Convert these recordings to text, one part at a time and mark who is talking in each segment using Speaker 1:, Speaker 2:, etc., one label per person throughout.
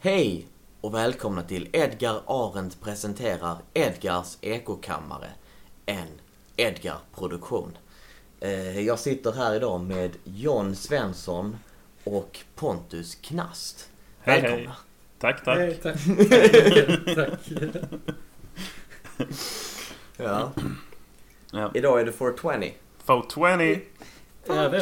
Speaker 1: Hej och välkomna till Edgar Arendt presenterar Edgars ekokammare. En Edgar-produktion. Eh, Jag sitter här idag med John Svensson och Pontus Knast.
Speaker 2: Hej,
Speaker 1: Välkomna.
Speaker 2: hej. Tack, tack.
Speaker 3: Nej, tack. tack.
Speaker 1: Ja.
Speaker 2: Ja.
Speaker 1: Idag är det 420.
Speaker 2: For 20.
Speaker 3: Ja, det är det.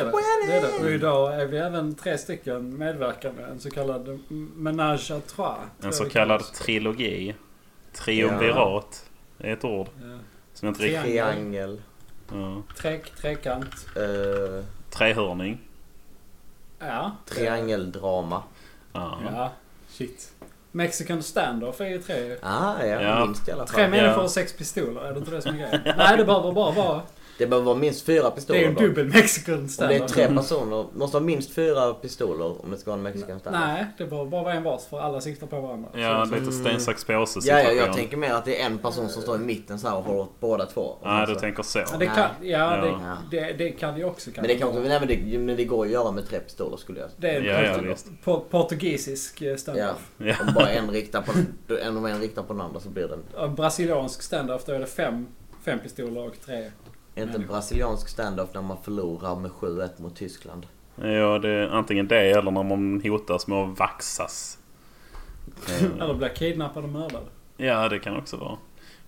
Speaker 3: det är det. Och idag är vi även tre stycken medverkande. En så kallad m- menage à trois.
Speaker 2: En så kallad trilogi. Triumvirat. Det är ett ord
Speaker 3: Ja.
Speaker 2: som jag inte riktigt...
Speaker 1: Triangel.
Speaker 2: Ja.
Speaker 3: Träck, trekant.
Speaker 1: eh,
Speaker 2: Trehörning.
Speaker 3: Ja.
Speaker 1: triangeldrama.
Speaker 2: Ja.
Speaker 3: Ja. Shit. Mexican standoff är ju tre.
Speaker 1: Ah, ja,
Speaker 2: Ja.
Speaker 1: minst i alla fall.
Speaker 3: Tre människor
Speaker 2: Ja.
Speaker 3: och sex pistoler. Är det inte det som är grejen? Nej, det behöver bara vara...
Speaker 1: Det behöver vara minst fyra pistoler.
Speaker 3: Det är en
Speaker 1: då.
Speaker 3: dubbel Mm. mexican
Speaker 1: Om det är
Speaker 3: standoff.
Speaker 1: tre personer, måste ha minst fyra pistoler om det ska vara en mexikan standard.
Speaker 3: Nej, det behöver bara vara en vars för alla siktar på varandra.
Speaker 2: Ja,
Speaker 3: Så- så-
Speaker 2: lite sten, sax, påse
Speaker 1: Ja, ja,
Speaker 2: situation.
Speaker 1: jag tänker mer att det är en person som står i mitten så här och håller åt båda två. Alltså. Och
Speaker 2: Nej,
Speaker 1: så-
Speaker 2: du tänker så.
Speaker 3: Ja, det kan, ja,
Speaker 1: Ja.
Speaker 3: Det, det, det kan ju också kanske
Speaker 1: Men det,
Speaker 3: vara.
Speaker 1: kanske, nej, men, det, men det går att göra med tre pistoler skulle jag
Speaker 3: Det är en
Speaker 2: Ja, ja,
Speaker 3: portug-
Speaker 2: visst.
Speaker 3: po- portugisisk eh,
Speaker 1: Ja.
Speaker 3: standoff.
Speaker 2: Ja.
Speaker 1: Om bara en riktar på den, en, om en riktar på den andra så blir det en,
Speaker 3: En brasiliansk standoff, då är det fem, fem pistoler och
Speaker 2: Mm.
Speaker 3: tre.
Speaker 1: är inte en
Speaker 3: Människa.
Speaker 1: brasiliansk standoff när man förlorar med 7-1 mot Tyskland.
Speaker 2: Ja, det är antingen det eller när man hotas med att vaxas. Eh,
Speaker 3: Eller blir kidnappad och mördad.
Speaker 2: Ja, det kan också vara.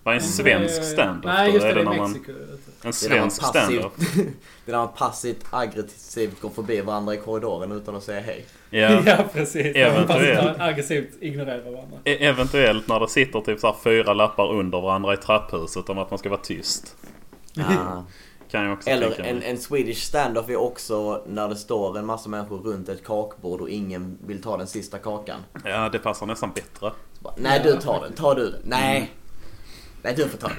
Speaker 2: Vad är en
Speaker 3: Eh,
Speaker 2: svensk stand
Speaker 3: Nej, just det.
Speaker 2: är
Speaker 3: Det
Speaker 2: det
Speaker 3: är
Speaker 2: när man...
Speaker 3: Mexiko. vet du.
Speaker 2: En
Speaker 1: Det är när man
Speaker 2: svensk stand
Speaker 1: det är när man passivt aggressivt går förbi varandra i korridoren utan att säga hej.
Speaker 2: Ja.
Speaker 3: Ja, precis.
Speaker 2: Eventuellt.
Speaker 3: Eventuellt. Aggressivt ignorerar varandra.
Speaker 2: E- Eventuellt när det sitter typ så här fyra lappar under varandra i trapphuset om att man ska vara tyst.
Speaker 1: Ah.
Speaker 2: Kan jag också
Speaker 1: Eller
Speaker 2: tänka mig.
Speaker 1: en, en Swedish standoff är också när det står en massa människor runt ett kakbord och ingen vill ta den sista kakan.
Speaker 2: Ja, det passar nästan bättre.
Speaker 1: Så bara, Nej du tar den, tar du den.
Speaker 2: Mm.
Speaker 1: Nej. Nej du får ta den.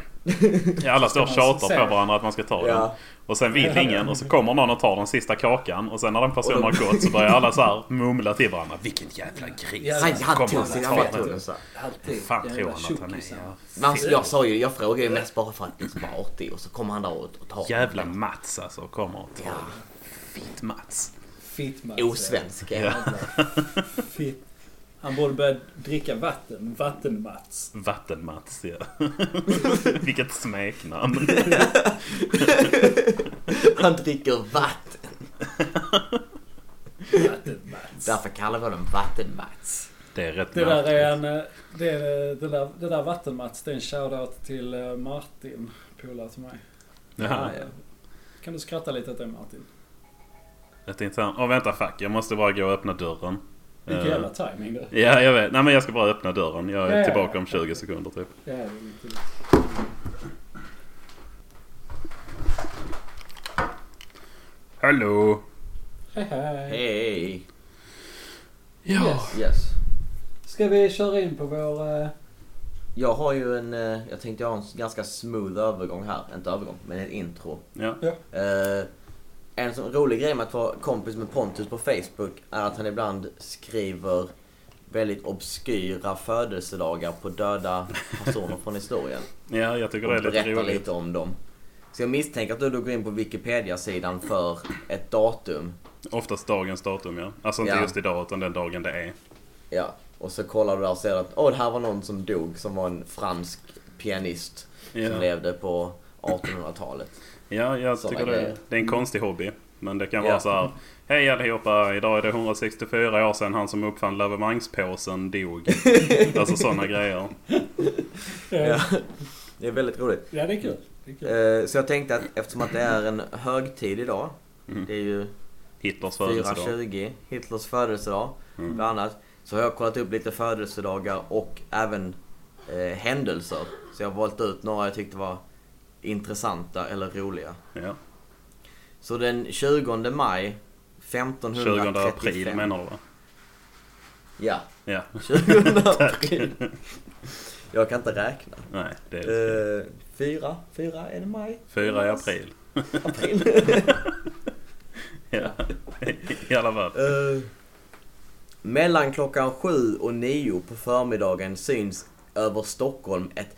Speaker 2: Ja, alla står och
Speaker 3: Ska man
Speaker 2: tjatar
Speaker 3: säga?
Speaker 2: på varandra att man ska ta den.
Speaker 1: Ja.
Speaker 2: Och sen vill ingen och så kommer någon och tar den sista kakan. Och sen när den personen har gått så börjar alla så här mumla till varandra. Vilken jävla gris.
Speaker 3: Ja,
Speaker 1: Han, han
Speaker 2: Kom
Speaker 1: tog
Speaker 2: och
Speaker 1: sin,
Speaker 2: ta
Speaker 1: han vet
Speaker 2: den.
Speaker 1: tog den så. här.
Speaker 3: Alltid.
Speaker 2: Fan tror
Speaker 3: Jävla
Speaker 2: han att han är.
Speaker 3: tjockisar.
Speaker 1: Men alltså, jag sa ju, jag frågade ju mest bara för att liksom vara artig och så kommer han där och, och tar
Speaker 2: Ja. Jävla Mats alltså kommer och tar
Speaker 1: Ja.
Speaker 2: Fitt Mats.
Speaker 3: Fitt man.
Speaker 1: Osvensk.
Speaker 2: Ja.
Speaker 3: Fitt. Han borde börja dricka vatten. Vatten-Mats.
Speaker 2: Vatten-Mats ja. Vilket smeknamn.
Speaker 1: Han dricker vatten.
Speaker 3: Vatten-Mats.
Speaker 1: Därför kallar vi honom Vatten-Mats.
Speaker 2: Det är rätt
Speaker 3: Det där är en...
Speaker 2: märkligt.
Speaker 3: eh, Det, är- det där, det där vatten-Mats, det är en shoutout till eh, Martin, polare till mig.
Speaker 2: Jaha.
Speaker 3: Eh, Kan du skratta lite åt det Martin?
Speaker 2: Ett internt... Åh vänta fuck, jag måste bara gå och öppna dörren.
Speaker 3: Vilken
Speaker 2: Eh,
Speaker 3: jävla timing du.
Speaker 2: Ja, jag vet. Nej men jag ska bara öppna dörren. Jag
Speaker 3: Ja,
Speaker 2: är
Speaker 3: ja,
Speaker 2: tillbaka
Speaker 3: ja.
Speaker 2: om 20 sekunder typ.
Speaker 3: Det är inget kul.
Speaker 2: Hallå!
Speaker 3: Hej hej!
Speaker 1: Hej.
Speaker 2: Ja.
Speaker 3: Yes.
Speaker 1: Yes.
Speaker 3: Ska vi köra in på vår... eh,
Speaker 1: Jag har ju en, eh, jag tänkte jag har en ganska smooth övergång här. Inte övergång, men ett intro.
Speaker 2: Ja.
Speaker 1: Eh, en sån rolig grej med att vara kompis med Pontus på Facebook är att han ibland skriver väldigt obskyra födelsedagar på döda personer från historien.
Speaker 2: ja, jag tycker
Speaker 1: Och
Speaker 2: det är lite
Speaker 1: berättar
Speaker 2: roligt.
Speaker 1: lite om dem. Så jag misstänker att du då går in på Wikipedia-sidan för ett datum.
Speaker 2: Oftast dagens datum ja. Alltså inte
Speaker 1: Ja.
Speaker 2: just idag utan den dagen det är.
Speaker 1: Ja. Och så kollar du där och ser att åh, det här var någon som dog som var en fransk pianist
Speaker 2: Ja.
Speaker 1: som levde på 1800-talet.
Speaker 2: Ja, jag
Speaker 1: Såna
Speaker 2: tycker det,
Speaker 1: grejer.
Speaker 2: det är en konstig hobby. Men det kan
Speaker 1: Ja.
Speaker 2: vara så här. Hej allihopa! Idag är det 164 år sedan han som uppfann lavemangspåsen dog. alltså sådana grejer.
Speaker 1: Ja. Det är väldigt roligt.
Speaker 3: eh, Ja det är kul. Det är kul.
Speaker 1: Eh, Så jag tänkte att eftersom att det är en högtid idag. Det är ju
Speaker 2: Hitlers Mm. födelsedag.
Speaker 1: 420, Hitlers födelsedag
Speaker 2: Mm.
Speaker 1: bland annat. Så har jag kollat upp lite födelsedagar och även eh, händelser. Så jag har valt ut några jag tyckte var intressanta eller roliga.
Speaker 2: Ja.
Speaker 1: Så den 20 maj 1535.
Speaker 2: 20 april menar du va?
Speaker 1: Ja,
Speaker 2: Ja.
Speaker 1: 20 april. jag kan inte räkna.
Speaker 2: Nej, det är
Speaker 1: Eh, fyra, fyra är det maj?
Speaker 2: 4 i april.
Speaker 1: april.
Speaker 2: Ja. I alla fall.
Speaker 1: Eh, mellan klockan sju och nio på förmiddagen syns över Stockholm ett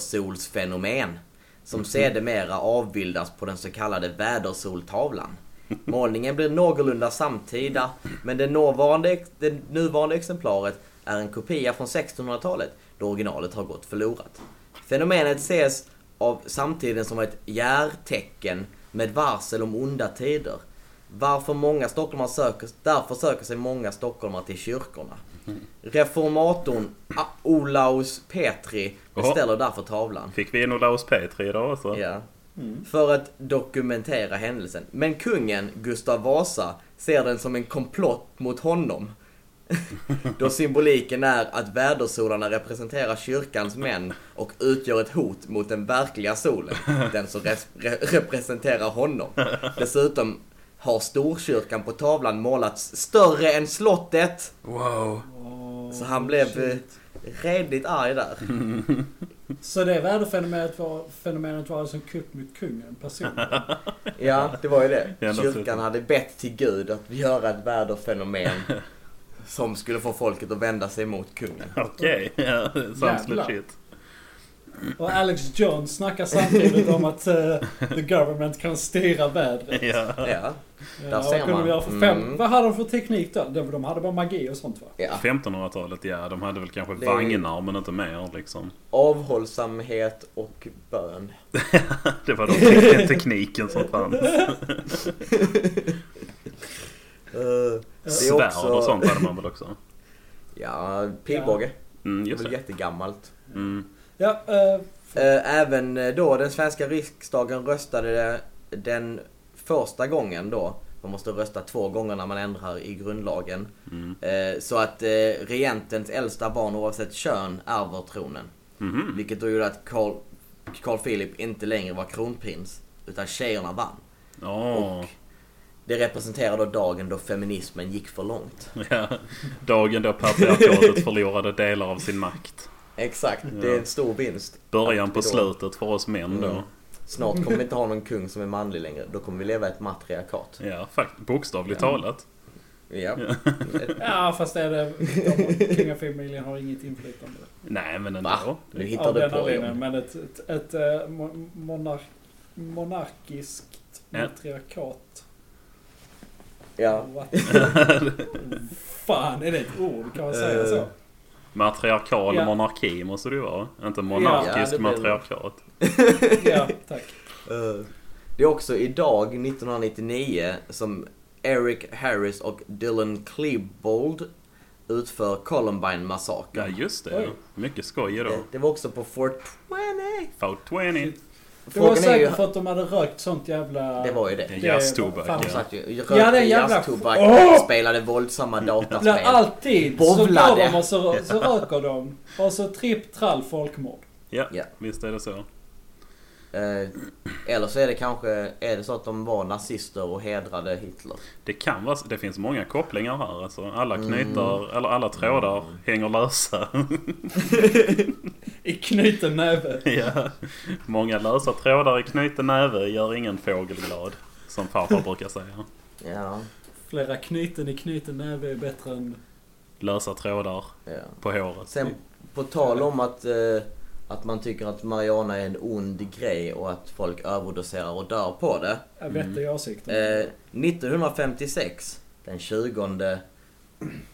Speaker 1: vädersolsfenomen som sedermera avbildas på den så kallade vädersoltavlan. Målningen blir någorlunda samtida men det, nuvarande, det nuvarande exemplaret är en kopia från 1600-talet då originalet har gått förlorat. Fenomenet ses av samtiden som ett järtecken med varsel om onda tider. Varför många stockholmare söker, därför söker sig många stockholmare till kyrkorna. Reformatorn A- Olaus Petri
Speaker 2: Jaha.
Speaker 1: beställer därför tavlan.
Speaker 2: Fick vi en Olaus Petri idag också?
Speaker 1: Ja. För att dokumentera händelsen. Men kungen, Gustav Vasa, ser den som en komplott mot honom. Då symboliken är att vädersolarna representerar kyrkans män och utgör ett hot mot den verkliga solen, den som res- re- representerar honom. Dessutom har Storkyrkan på tavlan målats större än slottet,
Speaker 2: Wow.
Speaker 3: Åh,
Speaker 1: så han blev eh,
Speaker 3: shit.
Speaker 1: redigt arg där.
Speaker 3: Så det väderfenomenet var, fenomenet var alltså en kupp mot kungen personligen?
Speaker 1: Ja, det var ju det.
Speaker 2: Ja, något
Speaker 1: Kyrkan
Speaker 2: sånt.
Speaker 1: hade bett till Gud att göra ett väderfenomen som skulle få folket att vända sig mot kungen.
Speaker 2: Okej, ja, sounds
Speaker 3: Jävlar.
Speaker 2: legit.
Speaker 3: Och Alex Jones snackar samtidigt om att eh, the government kan styra vädret.
Speaker 2: Ja.
Speaker 1: Ja,
Speaker 3: Eh, Ja,
Speaker 1: Där
Speaker 3: vad
Speaker 1: ser
Speaker 3: kunde
Speaker 1: man.
Speaker 3: de göra för fem?
Speaker 1: Mm.
Speaker 3: Vad hade de för teknik då? De, de hade bara magi och sånt va?
Speaker 1: ja.
Speaker 2: 1500-talet, ja. De hade väl kanske
Speaker 1: Det-
Speaker 2: vagnar, men inte mer liksom.
Speaker 1: Avhållsamhet och bön.
Speaker 2: Det var den tekniken som fanns.
Speaker 1: Eh, det är
Speaker 2: Svärd och
Speaker 1: också...
Speaker 2: sånt hade man väl också?
Speaker 1: Ja, pilbåge.
Speaker 2: Mm,
Speaker 1: Det är
Speaker 2: just
Speaker 1: väl
Speaker 2: det.
Speaker 1: jättegammalt.
Speaker 2: Mm.
Speaker 3: Ja, eh,
Speaker 1: Eh, Även då den svenska riksdagen röstade den första gången då. Man måste rösta två gånger när man ändrar i grundlagen.
Speaker 2: Mm.
Speaker 1: Eh, Så att eh, regentens äldsta barn oavsett kön ärver tronen.
Speaker 2: Mhm.
Speaker 1: Vilket då gjorde att Carl, Carl Philip inte längre var kronprins. Utan tjejerna vann.
Speaker 2: Åh.
Speaker 1: Det representerar då dagen då feminismen gick för långt.
Speaker 2: Ja. Dagen då patriarkatet förlorade delar av sin makt.
Speaker 1: Exakt, det är en stor vinst.
Speaker 2: Början på
Speaker 1: Då-
Speaker 2: slutet för oss män då.
Speaker 1: Mm. Snart kommer vi inte ha någon kung som är manlig längre. Då kommer vi leva i ett matriarkat.
Speaker 2: Ja, fakt- bokstavligt
Speaker 3: Ja.
Speaker 2: talat.
Speaker 1: Ja.
Speaker 3: ja, fast är det, de, kungafamiljen har inget inflytande.
Speaker 2: Nej, men ändå.
Speaker 1: Va? Nu hittar
Speaker 3: Av
Speaker 1: du
Speaker 3: den
Speaker 1: på
Speaker 3: anledningen.
Speaker 1: igen.
Speaker 3: Men ett, ett, ett eh, mo- monark, monarkiskt
Speaker 2: Ja.
Speaker 3: matriarkat.
Speaker 1: Ja.
Speaker 3: What? Fan, är det ett ord? Kan man säga så?
Speaker 1: Eh,
Speaker 2: Matriarkal
Speaker 3: Ja.
Speaker 2: monarki måste det ju vara. Inte
Speaker 1: Ja,
Speaker 2: monarkisk
Speaker 1: det blir det.
Speaker 2: matriarkat.
Speaker 3: Ja, tack.
Speaker 1: Eh, Det är också idag, 1999, som Eric Harris och Dylan Klebold utför
Speaker 2: Ja,
Speaker 1: Columbine-massakern.
Speaker 2: just det.
Speaker 3: Oj.
Speaker 2: Mycket skoj
Speaker 1: Det-
Speaker 2: idag.
Speaker 1: Det var också på 420.
Speaker 2: Fout 20.
Speaker 3: Det var
Speaker 1: Frågan är ju...
Speaker 3: säkert för att de hade rökt sånt jävla...
Speaker 1: Det var ju det.
Speaker 2: En jazztobak.
Speaker 3: fan,
Speaker 1: De
Speaker 2: Ja.
Speaker 1: satt ju,
Speaker 3: det är
Speaker 1: rökte
Speaker 3: en jävla-
Speaker 1: jazztobak,
Speaker 3: Åh!
Speaker 1: spelade våldsamma
Speaker 3: Bland
Speaker 1: dataspel.
Speaker 3: alltid så
Speaker 1: Bovlade.
Speaker 3: går de och så, så röker de. Och så tripp, trall, folkmord.
Speaker 2: Ja,
Speaker 1: Ja.
Speaker 2: visst är det så.
Speaker 1: Eh, Eller så är det kanske, är det så att de var nazister och hedrade Hitler?
Speaker 2: Det kan vara Det finns många kopplingar här. Alltså, alla
Speaker 1: Mm.
Speaker 2: knytar, eller alla trådar hänger lösa.
Speaker 3: I knuten näve.
Speaker 2: ja. Många lösa trådar i knuten näve gör ingen fågel glad. Som farfar brukar säga.
Speaker 1: Ja,
Speaker 3: Flera knyten i knuten näve är bättre än...
Speaker 2: Lösa trådar
Speaker 1: ja.
Speaker 2: på håret.
Speaker 1: Sen på tal om att, eh, att man tycker att Mariana är en ond grej och att folk överdoserar och dör på det.
Speaker 3: Jag vet det i åsikten.
Speaker 1: Eh, 1956, den 20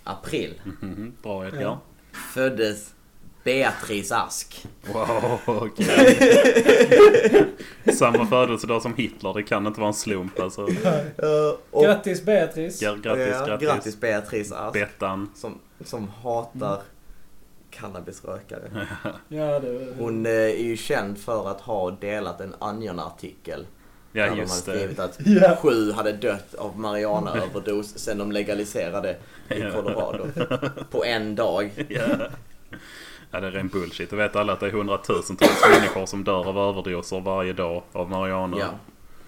Speaker 1: april,
Speaker 2: Mhm, Bra Edgar.
Speaker 3: Ja.
Speaker 1: föddes Beatrice Ask.
Speaker 2: Wow, okej. Samma födelsedag som Hitler, det kan inte vara en slump alltså.
Speaker 1: Eh, och,
Speaker 3: Grattis Beatrice!
Speaker 2: Ja, grattis,
Speaker 1: Ja,
Speaker 2: grattis.
Speaker 1: grattis Beatrice Ask.
Speaker 2: Bettan.
Speaker 1: Som, som hatar
Speaker 2: Mm.
Speaker 1: cannabisrökare.
Speaker 3: Ja, det...
Speaker 1: Hon eh, är ju känd för att ha delat en Onion-artikel.
Speaker 2: Ja,
Speaker 1: där de
Speaker 2: just
Speaker 1: hade
Speaker 2: det.
Speaker 1: skrivit att
Speaker 3: Ja.
Speaker 1: sju hade dött av marijuanaöverdos sen de legaliserade i
Speaker 2: Ja.
Speaker 1: Colorado. På en dag.
Speaker 2: Ja. ja, det är ren bullshit. Det vet alla att det är hundratusentals människor som dör av överdoser varje dag av marijuana.
Speaker 1: Ja.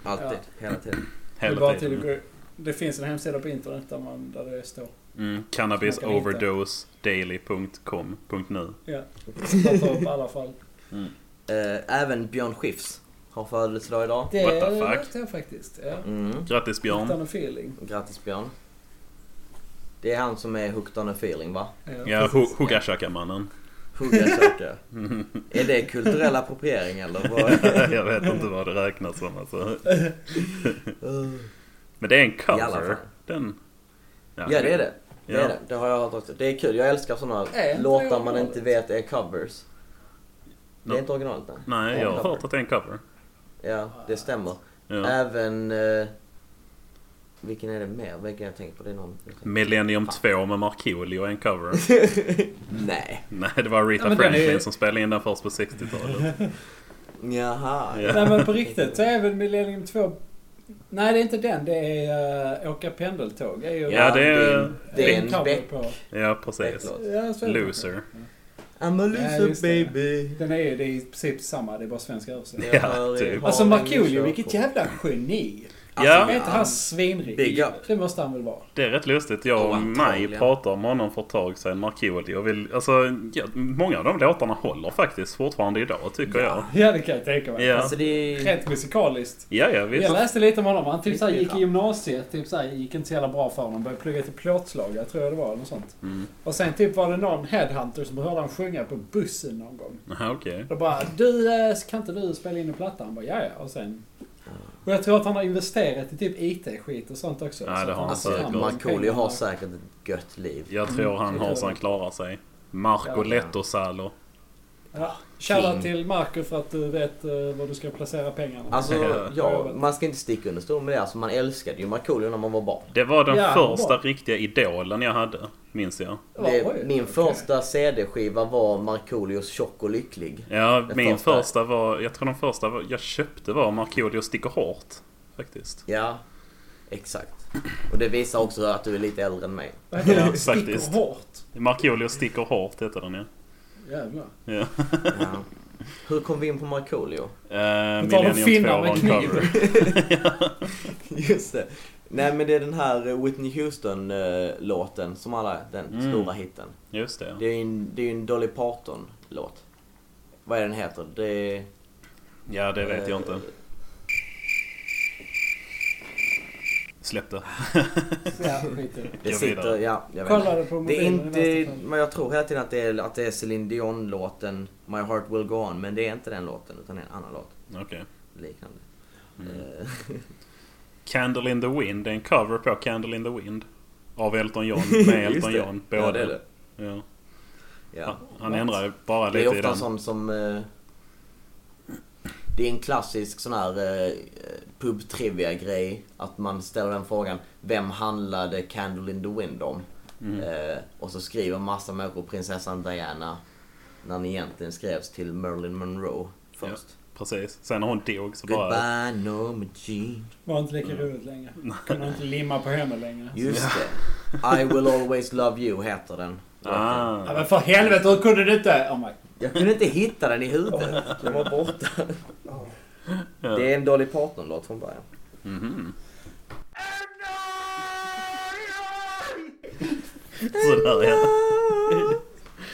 Speaker 1: Alltid. Hela tiden.
Speaker 3: det, bara
Speaker 2: Hela
Speaker 3: till att
Speaker 2: tiden.
Speaker 3: gå- det finns en hemsida på internet där, man, där det står.
Speaker 2: Mm. Cannabisoverdosedaily.com.nu
Speaker 3: Ja. Där tar upp alla fall.
Speaker 1: Eh, även Björn Skifs har födelsedag idag.
Speaker 3: Det
Speaker 2: What the fuck?
Speaker 3: vet jag faktiskt. Ja.
Speaker 1: Mm.
Speaker 2: Grattis Björn!
Speaker 3: Utan en feeling.
Speaker 1: Grattis Björn. Det är han som är hooked on a feeling va?
Speaker 2: Ja, hu- Hugashaka-mannen.
Speaker 1: Hugga saker. Är det kulturell appropriering eller? Vad?
Speaker 2: Jag vet inte vad det räknas som alltså. Men det är en
Speaker 1: I alla fall.
Speaker 2: cover. Den.
Speaker 1: Ja det är det. Det är det. Det har jag hört också. Det är kul. Jag älskar sådana
Speaker 4: Är inte det
Speaker 1: låtar man
Speaker 4: originalet?
Speaker 1: inte vet är covers. Det är
Speaker 2: Ja.
Speaker 1: inte originalet nej.
Speaker 2: Nej,
Speaker 1: Det är
Speaker 2: jag
Speaker 1: en
Speaker 2: har
Speaker 1: cover.
Speaker 2: hört att det är en cover.
Speaker 1: Ja, det stämmer.
Speaker 2: Ja.
Speaker 1: Även... Eh, vilken är det mer? Vilken jag tänker på? Det är någon...
Speaker 2: Millennium 2 med Markoolio är en cover.
Speaker 1: Nej.
Speaker 2: Nej, det var Rita
Speaker 3: Ja, men den är-
Speaker 2: Franklin som spelade in den först på 60-talet.
Speaker 1: Jaha.
Speaker 2: Ja.
Speaker 3: Nej men på riktigt så är väl Millennium 2... Nej det är inte den. Det är uh, Åka pendeltåg. Det är ju
Speaker 2: Ja, det
Speaker 1: det
Speaker 2: är...
Speaker 1: är- det är en
Speaker 3: cover
Speaker 1: Beck.
Speaker 3: på-
Speaker 2: Ja, precis.
Speaker 1: Bäcklåt.
Speaker 3: Ja, så är det.
Speaker 2: Loser.
Speaker 1: I'm a
Speaker 3: Ja,
Speaker 1: loser
Speaker 3: just det.
Speaker 1: baby.
Speaker 3: Den är ju det är i princip samma. Det är bara svenska översättning.
Speaker 1: Jag
Speaker 2: Ja,
Speaker 1: hör er
Speaker 2: typ.
Speaker 1: ha
Speaker 3: Alltså
Speaker 1: en
Speaker 3: Markoolio,
Speaker 1: körkort.
Speaker 3: vilket jävla geni. Alltså,
Speaker 2: Ja.
Speaker 3: Är inte han
Speaker 1: Big
Speaker 3: svinrik?
Speaker 1: up.
Speaker 3: Det måste han väl vara?
Speaker 2: Det är rätt lustigt. Jag
Speaker 1: Och
Speaker 2: och Maj
Speaker 1: antagligen.
Speaker 2: pratade om honom för ett tag sedan, Markoolio. Och vill- Alltså, ja, många av de låtarna håller faktiskt fortfarande idag, tycker jag.
Speaker 3: Ja, det kan jag tänka mig.
Speaker 2: Ja.
Speaker 1: Alltså det är...
Speaker 3: Rent musikaliskt.
Speaker 2: Ja, ja,
Speaker 3: Jag
Speaker 2: visst.
Speaker 3: läste lite om honom. Han typ såhär,
Speaker 1: Riktigt
Speaker 3: gick i
Speaker 1: bra.
Speaker 3: gymnasiet. Typ såhär, gick inte så jävla bra för honom. Började plugga till plåtslagare tror jag det var. Eller något sånt.
Speaker 2: Mm.
Speaker 3: Och sen typ var det någon headhunter som hörde han sjunga på bussen någon gång.
Speaker 2: Aha, okej.
Speaker 3: Då bara du, eh, kan inte du spela in en platta? Han bara ja ja. Och sen... Och jag tror att han har investerat i typ IT-skit och sånt också.
Speaker 2: Ja, det
Speaker 3: Så att
Speaker 2: har han
Speaker 3: tjänar
Speaker 1: Alltså
Speaker 2: säkert.
Speaker 3: de
Speaker 1: Markoolio
Speaker 3: pengarna.
Speaker 1: har säkert ett gött liv.
Speaker 2: Jag tror han
Speaker 3: Mm,
Speaker 2: har
Speaker 3: jag
Speaker 2: så
Speaker 3: tror
Speaker 2: han klarar sig. Marco
Speaker 3: Ja.
Speaker 2: Lehtosalo.
Speaker 3: Ja. Shoutout
Speaker 1: King.
Speaker 3: till Marco för att du vet eh, var du ska placera pengarna.
Speaker 1: Alltså,
Speaker 2: Ja.
Speaker 1: ja, man ska inte sticka under stol med det. Alltså, man älskade ju Markoolio när man var barn.
Speaker 2: Det var den
Speaker 3: Ja,
Speaker 2: första
Speaker 3: bra.
Speaker 2: riktiga idolen jag hade, minns jag.
Speaker 3: Ja,
Speaker 1: Det,
Speaker 3: oj,
Speaker 1: min
Speaker 3: okej.
Speaker 1: första CD-skiva var Markoolios Tjock och lycklig.
Speaker 2: Ja,
Speaker 1: Den
Speaker 2: min
Speaker 1: första.
Speaker 2: första. var... Jag tror den första var, jag köpte var Markoolio sticker hårt. Faktiskt.
Speaker 1: Ja, exakt. Och det visar också att du är lite äldre än mig.
Speaker 3: Vad heter
Speaker 2: Ja,
Speaker 3: det?
Speaker 2: faktiskt.
Speaker 3: Sticker hårt.
Speaker 2: Markoolio sticker hårt heter den ja. Eh,
Speaker 3: Jävlar.
Speaker 2: ja.
Speaker 1: Ja. Hur kom vi in på Markoolio?
Speaker 2: Uh,
Speaker 3: På tal om
Speaker 2: Millennium 2
Speaker 3: finnar
Speaker 2: var
Speaker 3: med
Speaker 2: en cover.
Speaker 3: kniv.
Speaker 1: Just det. Nej men det är den här Whitney Houston-låten som alla, den
Speaker 2: Mm.
Speaker 1: stora hitten.
Speaker 2: Just det.
Speaker 1: Det är ju en, det är ju en Dolly Parton-låt. Vad är den heter? Det är...
Speaker 2: Ja, det vet
Speaker 1: eh,
Speaker 2: jag inte. Släpp det.
Speaker 3: Ja, skit i det.
Speaker 1: Det
Speaker 2: Gå
Speaker 1: sitter,
Speaker 2: vidare.
Speaker 1: ja, jag vet
Speaker 3: Kolla
Speaker 1: inte.
Speaker 3: det på
Speaker 1: Det är
Speaker 3: mobilen i
Speaker 1: inte,
Speaker 3: värsta fall.
Speaker 1: men jag tror hela tiden att det är, att det är Celine Dion-låten My Heart Will Go On, men det är inte den låten utan det är en annan låt.
Speaker 2: Okej.
Speaker 1: Liknande.
Speaker 2: Mm.
Speaker 1: Eh,
Speaker 2: Candle in the Wind är en cover på Candle in the Wind. Av Elton John, med
Speaker 1: Just
Speaker 2: Elton
Speaker 1: det.
Speaker 2: John. Båda.
Speaker 1: ja, det är det.
Speaker 2: Ja.
Speaker 1: Ja.
Speaker 2: Han, han ändrar ju bara
Speaker 1: Det är
Speaker 2: lite i
Speaker 1: ofta
Speaker 2: den.
Speaker 1: sånt som... eh, Det är en klassisk sån här eh, pub-trivia-grej. Att man ställer den frågan. Vem handlade Candle in the Wind om?
Speaker 2: Mm.
Speaker 1: Eh, Och så skriver massa människor prinsessan Diana. När den egentligen skrevs till Marilyn Monroe först.
Speaker 2: Precis. Sen när hon dog så bara...
Speaker 1: Goodbye Norma Jean.
Speaker 3: Var inte lika roligt längre.
Speaker 2: Mm.
Speaker 3: Kunde inte limma på henne längre.
Speaker 1: Just det. I will always love you heter den.
Speaker 3: Ja,
Speaker 2: Ah.
Speaker 3: men för helvete, hur kunde du inte? Oh my.
Speaker 1: Jag kunde inte hitta den i huvudet. Den var borta.
Speaker 2: Ja.
Speaker 1: Det är en Dolly Parton-låt från början.
Speaker 2: Mhm. Sådär ja.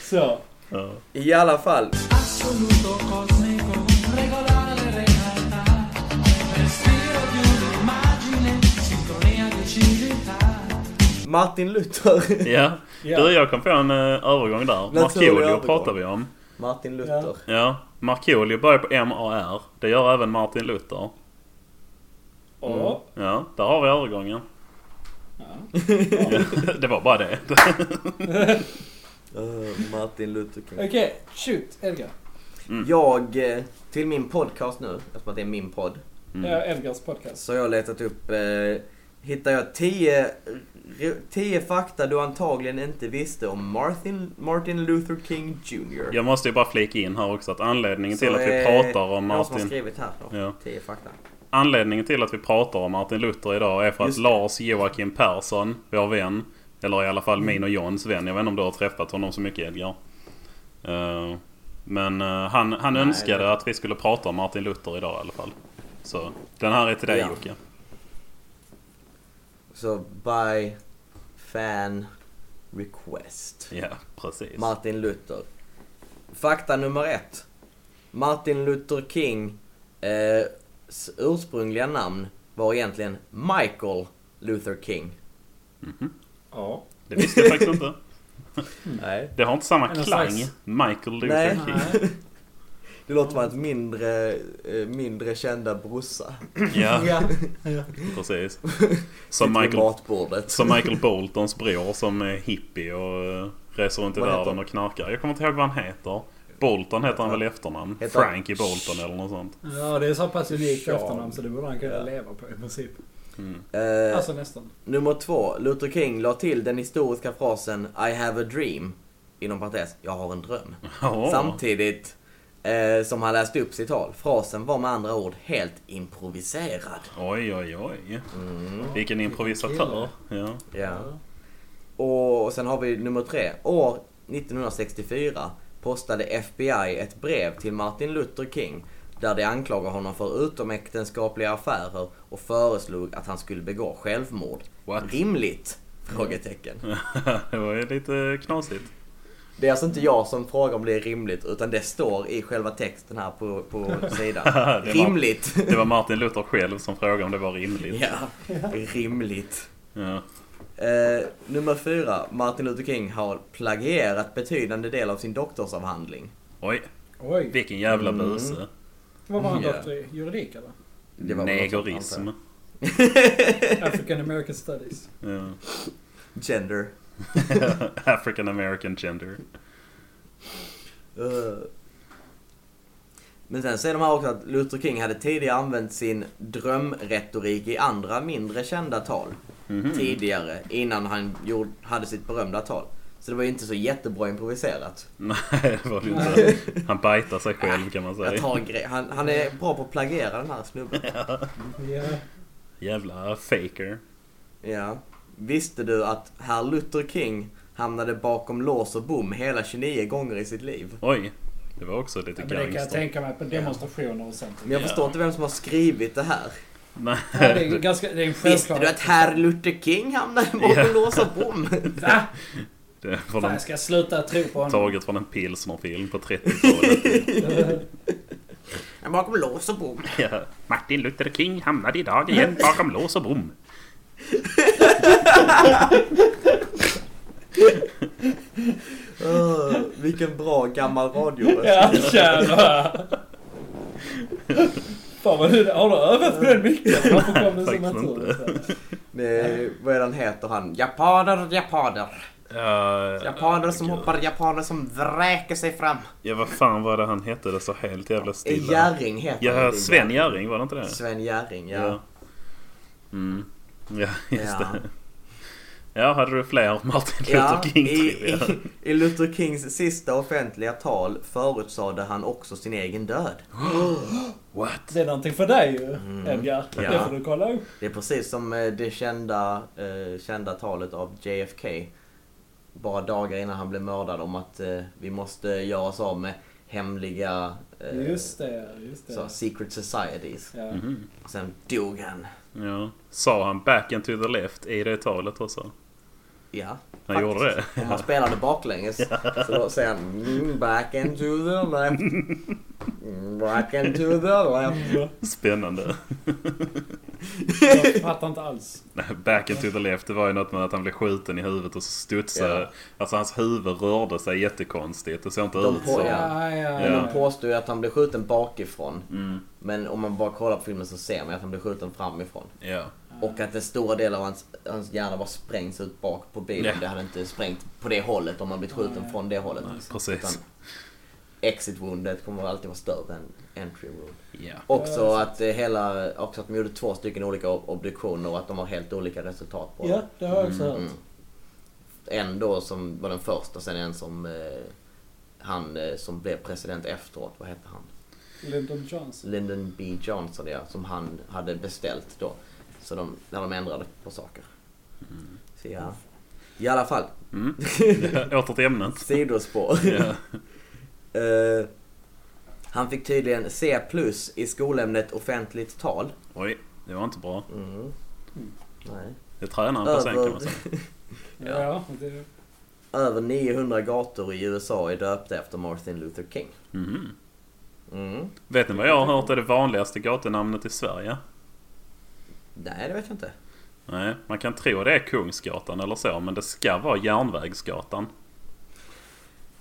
Speaker 3: Så.
Speaker 2: ja.
Speaker 1: I alla fall.
Speaker 5: assoluto cosmico, regolare realtà, respiro di un'immagine, sintonia di civiltà.
Speaker 1: Martin Luther.
Speaker 2: Ja.
Speaker 3: Ja.
Speaker 2: Du, jag kom på en eh, övergång där.
Speaker 1: Naturlig
Speaker 2: Markoolio
Speaker 1: övergång.
Speaker 2: pratar vi om.
Speaker 1: Martin Luther.
Speaker 2: Ja. Markoolio börjar på M-A-R. Det gör även Martin Luther.
Speaker 3: Och.
Speaker 2: Ja, där har vi övergången.
Speaker 3: Ja.
Speaker 2: det var bara det.
Speaker 1: Eh, Martin Luther King.
Speaker 3: Okej, shoot Edgar.
Speaker 1: Jag, eh, till min podcast nu, eftersom att det är min podd,
Speaker 2: Mm.
Speaker 3: Ja, Edgars podcast.
Speaker 1: så har jag letat upp, eh, hittar jag 10, re- 10 fakta du antagligen inte visste om Martin, Martin Luther King Jr.
Speaker 2: Jag måste ju bara flika in här också att anledningen
Speaker 1: Så,
Speaker 2: till att vi
Speaker 1: eh,
Speaker 2: pratar om
Speaker 1: Jag som har
Speaker 2: Martin...
Speaker 1: skrivit här då.
Speaker 2: Ja.
Speaker 1: 10 fakta.
Speaker 2: Anledningen till att vi pratar om Martin Luther idag är för
Speaker 1: Just
Speaker 2: att
Speaker 1: det.
Speaker 2: Lars Joakim Persson, vår vän, eller i alla fall min och Johns vän, jag vet inte om du har träffat honom så mycket Edgar. Eh, men eh, han, han
Speaker 1: Nej,
Speaker 2: önskade
Speaker 1: det-
Speaker 2: att vi skulle prata om Martin Luther idag i alla fall. Så den här är till dig
Speaker 1: Ja.
Speaker 2: Jocke.
Speaker 1: Så by fan request.
Speaker 2: Ja, precis.
Speaker 1: Martin Luther. Fakta nummer ett. Martin Luther King eh, s- ursprungliga namn var egentligen Michael Luther King.
Speaker 3: Ja.
Speaker 2: Mhm. det visste jag faktiskt inte.
Speaker 1: Nej.
Speaker 2: Det har inte samma
Speaker 3: Eller
Speaker 2: klang.
Speaker 3: slags-
Speaker 2: Michael Luther
Speaker 1: Nej.
Speaker 2: King.
Speaker 3: Nej.
Speaker 1: Det låter som hans mindre, eh, mindre kända brorsa.
Speaker 2: Ja,
Speaker 3: Ja.
Speaker 2: precis. Som
Speaker 1: Sitter vid
Speaker 2: Michael,
Speaker 1: matbordet.
Speaker 2: som Michael Boltons bror som är hippie och eh, reser runt i
Speaker 1: Vad heter
Speaker 2: världen
Speaker 1: han?
Speaker 2: och knarkar. Jag kommer inte ihåg vad han heter. Bolton heter han väl i efternamn?
Speaker 1: Heter han-
Speaker 2: Frankie Bolton eller något sånt.
Speaker 3: ja, det är så pass unikt
Speaker 1: Sean.
Speaker 3: efternamn så det borde han kunna
Speaker 1: Ja.
Speaker 3: leva på i princip.
Speaker 1: Eh,
Speaker 3: Alltså nästan.
Speaker 1: Nummer två. Luther King la till den historiska frasen I have a dream. Inom parentes, jag har en dröm.
Speaker 2: Ja.
Speaker 1: Samtidigt eh, som han läste upp sitt tal. Frasen var med andra ord helt improviserad.
Speaker 2: Oj, oj, oj.
Speaker 1: Mm.
Speaker 2: Vilken improvisatör. Ja.
Speaker 1: Ja. Och sen har vi nummer tre. År 1964 postade FBI ett brev till Martin Luther King där de anklagar honom för utomäktenskapliga affärer och föreslog att han skulle begå självmord.
Speaker 2: What?
Speaker 1: Rimligt? Frågetecken.
Speaker 2: det var ju lite knasigt.
Speaker 1: Det är alltså inte jag som frågar om det är rimligt utan det står i själva texten här på, på sidan.
Speaker 2: var-
Speaker 1: rimligt!
Speaker 2: Det var Martin Luther själv som frågade om det var rimligt.
Speaker 1: ja, rimligt.
Speaker 2: Ja.
Speaker 1: Eh, nummer fyra. Martin Luther King har plagierat betydande del av sin doktorsavhandling.
Speaker 2: Oj,
Speaker 3: Oj.
Speaker 2: vilken jävla
Speaker 1: Mm.
Speaker 2: buse.
Speaker 3: Vad var han
Speaker 1: Ja.
Speaker 3: doktor i? Juridik eller?
Speaker 1: Det var väl något sånt,
Speaker 2: Negorism.
Speaker 1: antar
Speaker 3: African American Studies.
Speaker 2: Ja.
Speaker 1: Gender.
Speaker 2: African American gender.
Speaker 1: Eh. Men sen säger de här också att Luther King hade tidigare använt sin drömretorik i andra mindre kända tal.
Speaker 2: Mhm. Mm.
Speaker 1: Tidigare, innan han gjorde, hade sitt berömda tal. Så det var ju inte så jättebra improviserat.
Speaker 2: Nej, det var det inte. Han bajtar sig själv kan man
Speaker 1: Jag
Speaker 2: säga.
Speaker 1: tar en grej. Han, han är bra på att plagiera den här snubben.
Speaker 3: Ja.
Speaker 2: Jävla faker.
Speaker 1: Ja. Visste du att herr Luther King hamnade bakom lås och bom hela 29 gånger i sitt liv?
Speaker 2: Oj, det var också lite
Speaker 3: Men det kan jag
Speaker 2: gangster.
Speaker 3: tänka mig på demonstrationer och sånt.
Speaker 1: Men jag
Speaker 2: Ja.
Speaker 1: förstår inte vem som har skrivit det här.
Speaker 2: Nej,
Speaker 3: Ja, det, är ganska, det är en
Speaker 1: Visste
Speaker 3: självklar...
Speaker 1: du att herr Luther King hamnade bakom
Speaker 2: Ja.
Speaker 1: lås och bom?
Speaker 3: Va?
Speaker 2: det var
Speaker 3: Fan,
Speaker 2: de
Speaker 3: jag ska sluta tro på honom.
Speaker 2: taget från en pilsnerfilm på 30-talet.
Speaker 1: Men bakom lås och bom.
Speaker 2: Ja. Martin Luther King hamnade idag igen bakom lås och bom.
Speaker 1: Öh, vilken bra gammal radio.
Speaker 3: Ja, jävlar. Fan vad du... Har du övat på den mycket? Varför kom det så
Speaker 2: Faktiskt
Speaker 3: naturligt?
Speaker 1: Det är, vad är den heter han? Japaner, japaner. Japaner som hoppar, japaner som vräker sig fram.
Speaker 2: Ja, vad fan var det han hette? Det så helt jävla stilla.
Speaker 1: Gärring heter
Speaker 2: Ja,
Speaker 1: han.
Speaker 2: Sven Göring, var det inte det?
Speaker 1: Sven Gärring, ja.
Speaker 2: Ja. Mm. Ja, just
Speaker 1: Ja.
Speaker 2: det. Ja, hade du fler Martin
Speaker 1: Ja,
Speaker 2: Luther
Speaker 1: i,
Speaker 2: King
Speaker 1: i,
Speaker 2: trivia?
Speaker 1: I Luther Kings sista offentliga tal förutsade han också sin egen död.
Speaker 2: What?
Speaker 3: Det är någonting för dig ju, Edgar.
Speaker 1: Ja.
Speaker 3: Det får du kolla upp.
Speaker 1: Det är precis som eh, det kända, eh, kända talet av JFK. Bara dagar innan han blev mördad om att eh, vi måste göra oss av med hemliga eh,
Speaker 3: Just det, just det.
Speaker 1: så, secret societies.
Speaker 3: Ja.
Speaker 2: Mm.
Speaker 1: Och sen dog han.
Speaker 2: Mhm. Ja. Sa han back and to the left i det talet också?
Speaker 1: Ja.
Speaker 2: Han gjorde det?
Speaker 1: Om man spelade baklänges så då säger han mm, back into the left. Mm, Back into the left.
Speaker 2: Spännande.
Speaker 3: Jag fattar inte alls.
Speaker 2: Nej, Back and to the left, det var ju något med att han blev skjuten i huvudet och så studsade...
Speaker 1: Ja.
Speaker 2: Alltså hans huvud rörde sig jättekonstigt. Det såg inte
Speaker 1: De
Speaker 2: ut
Speaker 1: på-
Speaker 2: så.
Speaker 1: ja.
Speaker 3: ja,
Speaker 1: Men
Speaker 2: Ja.
Speaker 1: de påstår ju att han blev skjuten bakifrån.
Speaker 2: Mm.
Speaker 1: Men om man bara kollar på filmen så ser man ju att han blev skjuten framifrån.
Speaker 2: Ja.
Speaker 1: Och att en stor del av hans, hans hjärna bara sprängs ut bak på bilen.
Speaker 2: Ja.
Speaker 1: Det hade inte sprängt på det hållet om man blivit skjuten från det hållet.
Speaker 2: Precis.
Speaker 1: exit woundet kommer alltid vara större än entry wound.
Speaker 2: Ja.
Speaker 1: Också att, eh, hela, också att de gjorde två stycken olika ob- obduktioner och att de har helt olika resultat på
Speaker 3: Ja, det har jag också
Speaker 1: Mm.
Speaker 3: hört.
Speaker 1: det. En då som var den första, sen en som eh, han eh, som blev president efteråt, vad hette han?
Speaker 3: Lyndon Johnson.
Speaker 1: Lyndon B Johnson ja, som han hade beställt då. Så de, när de ändrade på saker. Så ja. I alla fall,
Speaker 2: Åter till ämnet.
Speaker 1: sidospår.
Speaker 2: Mm. Ja.
Speaker 1: Eh, han fick tydligen C plus i skolämnet offentligt tal.
Speaker 2: Oj, det var inte bra.
Speaker 1: Nej.
Speaker 2: Det tränar han på sen kan man säga.
Speaker 3: Ja, ja det,
Speaker 1: Över 900 gator i USA är döpta efter Martin Luther King.
Speaker 2: Mhm.
Speaker 1: Mm.
Speaker 2: Vet ni vad jag har hört är det vanligaste gatunamnet i Sverige?
Speaker 1: Nej, det vet jag inte.
Speaker 2: Nej, man kan tro det är Kungsgatan eller så, men det ska vara Järnvägsgatan.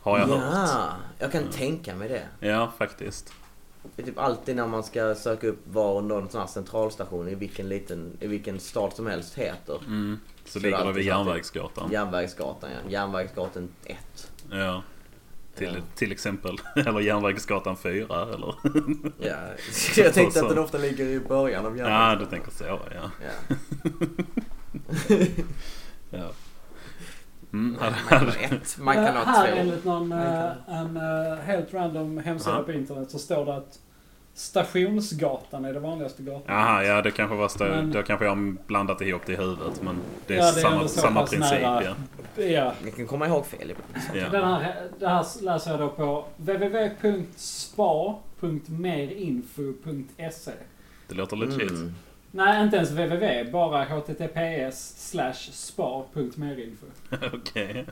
Speaker 2: Har jag hört. Mm.
Speaker 1: jag kan tänka mig det.
Speaker 2: Ja, faktiskt.
Speaker 1: det är typ alltid när man ska söka upp vad någon sån här centralstation i vilken, liten, i vilken stad som helst heter.
Speaker 2: Mm. Så,
Speaker 1: Så det
Speaker 2: ligger
Speaker 1: är
Speaker 2: det vid
Speaker 1: alltid
Speaker 2: Järnvägsgatan. Ja.
Speaker 1: Järnvägsgatan, ja. Järnvägsgatan 1.
Speaker 2: Till,
Speaker 1: Ja.
Speaker 2: till exempel. Eller Järnvägsgatan 4 eller?
Speaker 1: Ja. Jag tänkte att den ofta ligger i början av
Speaker 2: Ja,
Speaker 1: järnvägsgatan.
Speaker 2: du tänker så ja.
Speaker 1: Ja.
Speaker 2: ja. Mm.
Speaker 1: Man kan ha ett, man kan
Speaker 3: Eh,
Speaker 1: ha
Speaker 3: här
Speaker 1: två.
Speaker 3: enligt någon,
Speaker 1: Man kan
Speaker 3: eh,
Speaker 1: ha-
Speaker 3: en eh, helt random hemsida
Speaker 2: Ja.
Speaker 3: på internet så står det att Stationsgatan är det vanligaste gatan.
Speaker 2: Aha, ja det kanske var stö-
Speaker 3: Men-
Speaker 2: Då kanske jag har blandat ihop det i huvudet men det är
Speaker 3: Ja, det är
Speaker 2: samma,
Speaker 3: ändå så
Speaker 2: samma
Speaker 3: pass
Speaker 2: princip
Speaker 3: nära.
Speaker 2: ja.
Speaker 3: Ja.
Speaker 1: Jag kan komma ihåg fel ibland. så.
Speaker 2: ja.
Speaker 3: Den här, det här läser jag då på www.spa.merinfo.se
Speaker 2: Det låter legit.
Speaker 1: Mm.
Speaker 3: Nej, inte ens www, bara https slash spa.merinfo.
Speaker 2: Okej.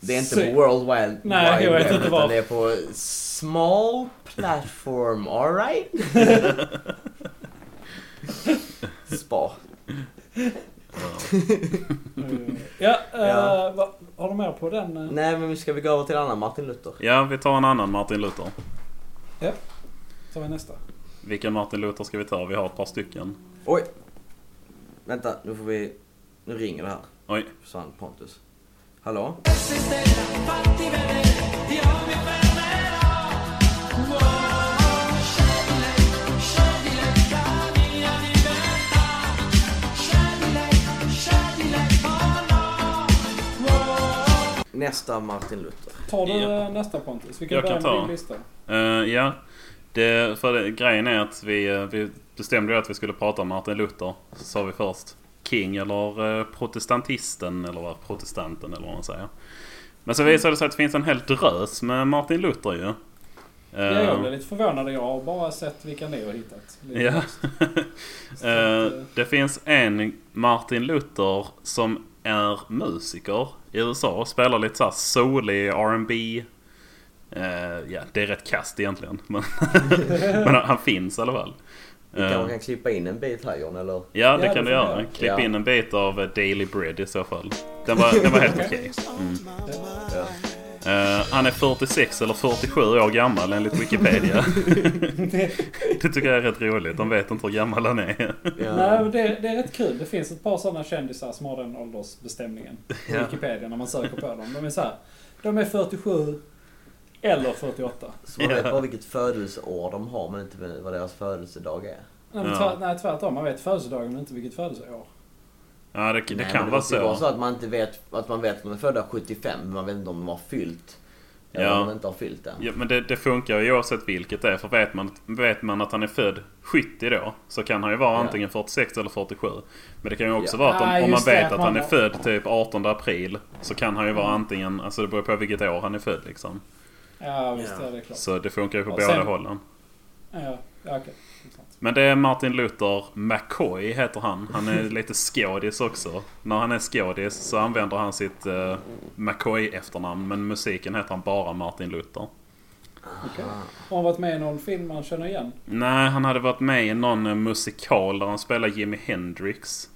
Speaker 1: Det är inte
Speaker 3: Se-
Speaker 1: på World Wide
Speaker 3: Nej, jag
Speaker 1: Wide
Speaker 3: vet
Speaker 1: Web,
Speaker 3: inte
Speaker 1: utan
Speaker 3: vad.
Speaker 1: Det är på Small Platform, alright? Spa.
Speaker 2: Ja.
Speaker 3: Ja, eh,
Speaker 1: Ja.
Speaker 3: vad- har du mer på den? eh?
Speaker 1: Nej, men ska vi gå över till annan Martin Luther?
Speaker 2: ja, vi tar en annan Martin Luther.
Speaker 3: tar vi nästa.
Speaker 2: Vilken Martin Luther ska vi ta? Vi har ett par stycken.
Speaker 1: Oj! Vänta, nu får vi... Nu ringer det här.
Speaker 2: Oj.
Speaker 1: Försvann Pontus. Hallå? Nästa Martin Luther.
Speaker 3: Tar du
Speaker 2: Ja.
Speaker 3: eh, nästa Pontus? Vi kan
Speaker 2: Jag
Speaker 3: börja
Speaker 2: kan
Speaker 3: med
Speaker 2: ta.
Speaker 3: din lista.
Speaker 2: Eh, ja, det, för det, grejen är att vi, eh, vi bestämde ju att vi skulle prata om Martin Luther. Så sa vi först King eller eh, protestantisten eller vad, protestanten eller vad man säger. Men
Speaker 3: Mm.
Speaker 2: så visade det sig att det finns en hel drös med Martin Luther ju.
Speaker 3: Ja, jag blev
Speaker 2: Eh,
Speaker 3: lite förvånad. Jag har bara sett vilka ni har hittat. Lite
Speaker 2: Ja.
Speaker 3: löst. Så
Speaker 2: Eh,
Speaker 3: att, eh,
Speaker 2: det finns en Martin Luther som är musiker i USA och spelar lite såhär solig R&B Eh, Ja, det är rätt kast egentligen. Men, men han, han finns i alla fall.
Speaker 1: Vi
Speaker 2: Eh,
Speaker 1: kanske kan klippa in en bit här John, eller?
Speaker 2: Ja, det kan
Speaker 3: Ja, det
Speaker 2: du
Speaker 3: får
Speaker 2: göra.
Speaker 3: jag.
Speaker 2: Klipp
Speaker 1: Ja.
Speaker 2: in en bit av eh, Daily Bread i så fall. Den var, den var helt okej. Eh, han är 46 eller 47 år gammal enligt Wikipedia. det tycker jag är rätt roligt. De vet inte hur gammal han är.
Speaker 3: eh, Nej, men det, det är rätt kul. Det finns ett par sådana kändisar som har den åldersbestämningen på
Speaker 2: Ja.
Speaker 3: Wikipedia när man söker på dem. De är så här, de är 47 eller 48.
Speaker 1: Så man vet bara vilket födelseår de har men inte vad deras födelsedag är.
Speaker 3: Nej, men
Speaker 2: Ja.
Speaker 3: tvär, nej tvärtom. Man vet födelsedagen men inte vilket födelseår.
Speaker 2: Ja, det, det
Speaker 1: Nej, men
Speaker 2: kan vara
Speaker 1: måste ju
Speaker 2: så.
Speaker 1: vara så att man inte vet att man vet att de är födda 75 men man vet inte om de har fyllt. Eller
Speaker 2: Ja.
Speaker 1: om de inte har fyllt det.
Speaker 2: Ja, men det, det funkar ju oavsett vilket det är. För vet man, vet man att han är född 70 då, så kan han ju vara
Speaker 1: Ja.
Speaker 2: antingen 46 eller 47. Men det kan ju också
Speaker 1: Ja.
Speaker 2: vara att om,
Speaker 3: Ah,
Speaker 2: om man
Speaker 3: just det,
Speaker 2: vet
Speaker 3: att
Speaker 2: att
Speaker 3: man
Speaker 2: han är
Speaker 3: har-
Speaker 2: född typ 18 april, så kan han ju vara antingen... Alltså det beror på vilket år han är född liksom.
Speaker 3: Ja, visst
Speaker 1: Ja.
Speaker 3: ja. det är klart.
Speaker 2: Så det funkar ju på
Speaker 3: Och
Speaker 2: båda
Speaker 3: sen-
Speaker 2: hållen.
Speaker 3: Ja, ja okej. Det är sant.
Speaker 2: Men det är Martin Luther McCoy heter han. Han är lite skådis också. När han är skådis så använder han sitt eh, McCoy-efternamn. Men musiken heter han bara Martin Luther.
Speaker 3: Okej. Har han varit med i någon film man känner igen?
Speaker 2: Nej, han hade varit med i någon eh, musikal där han spelade Jimi Hendrix. Eh,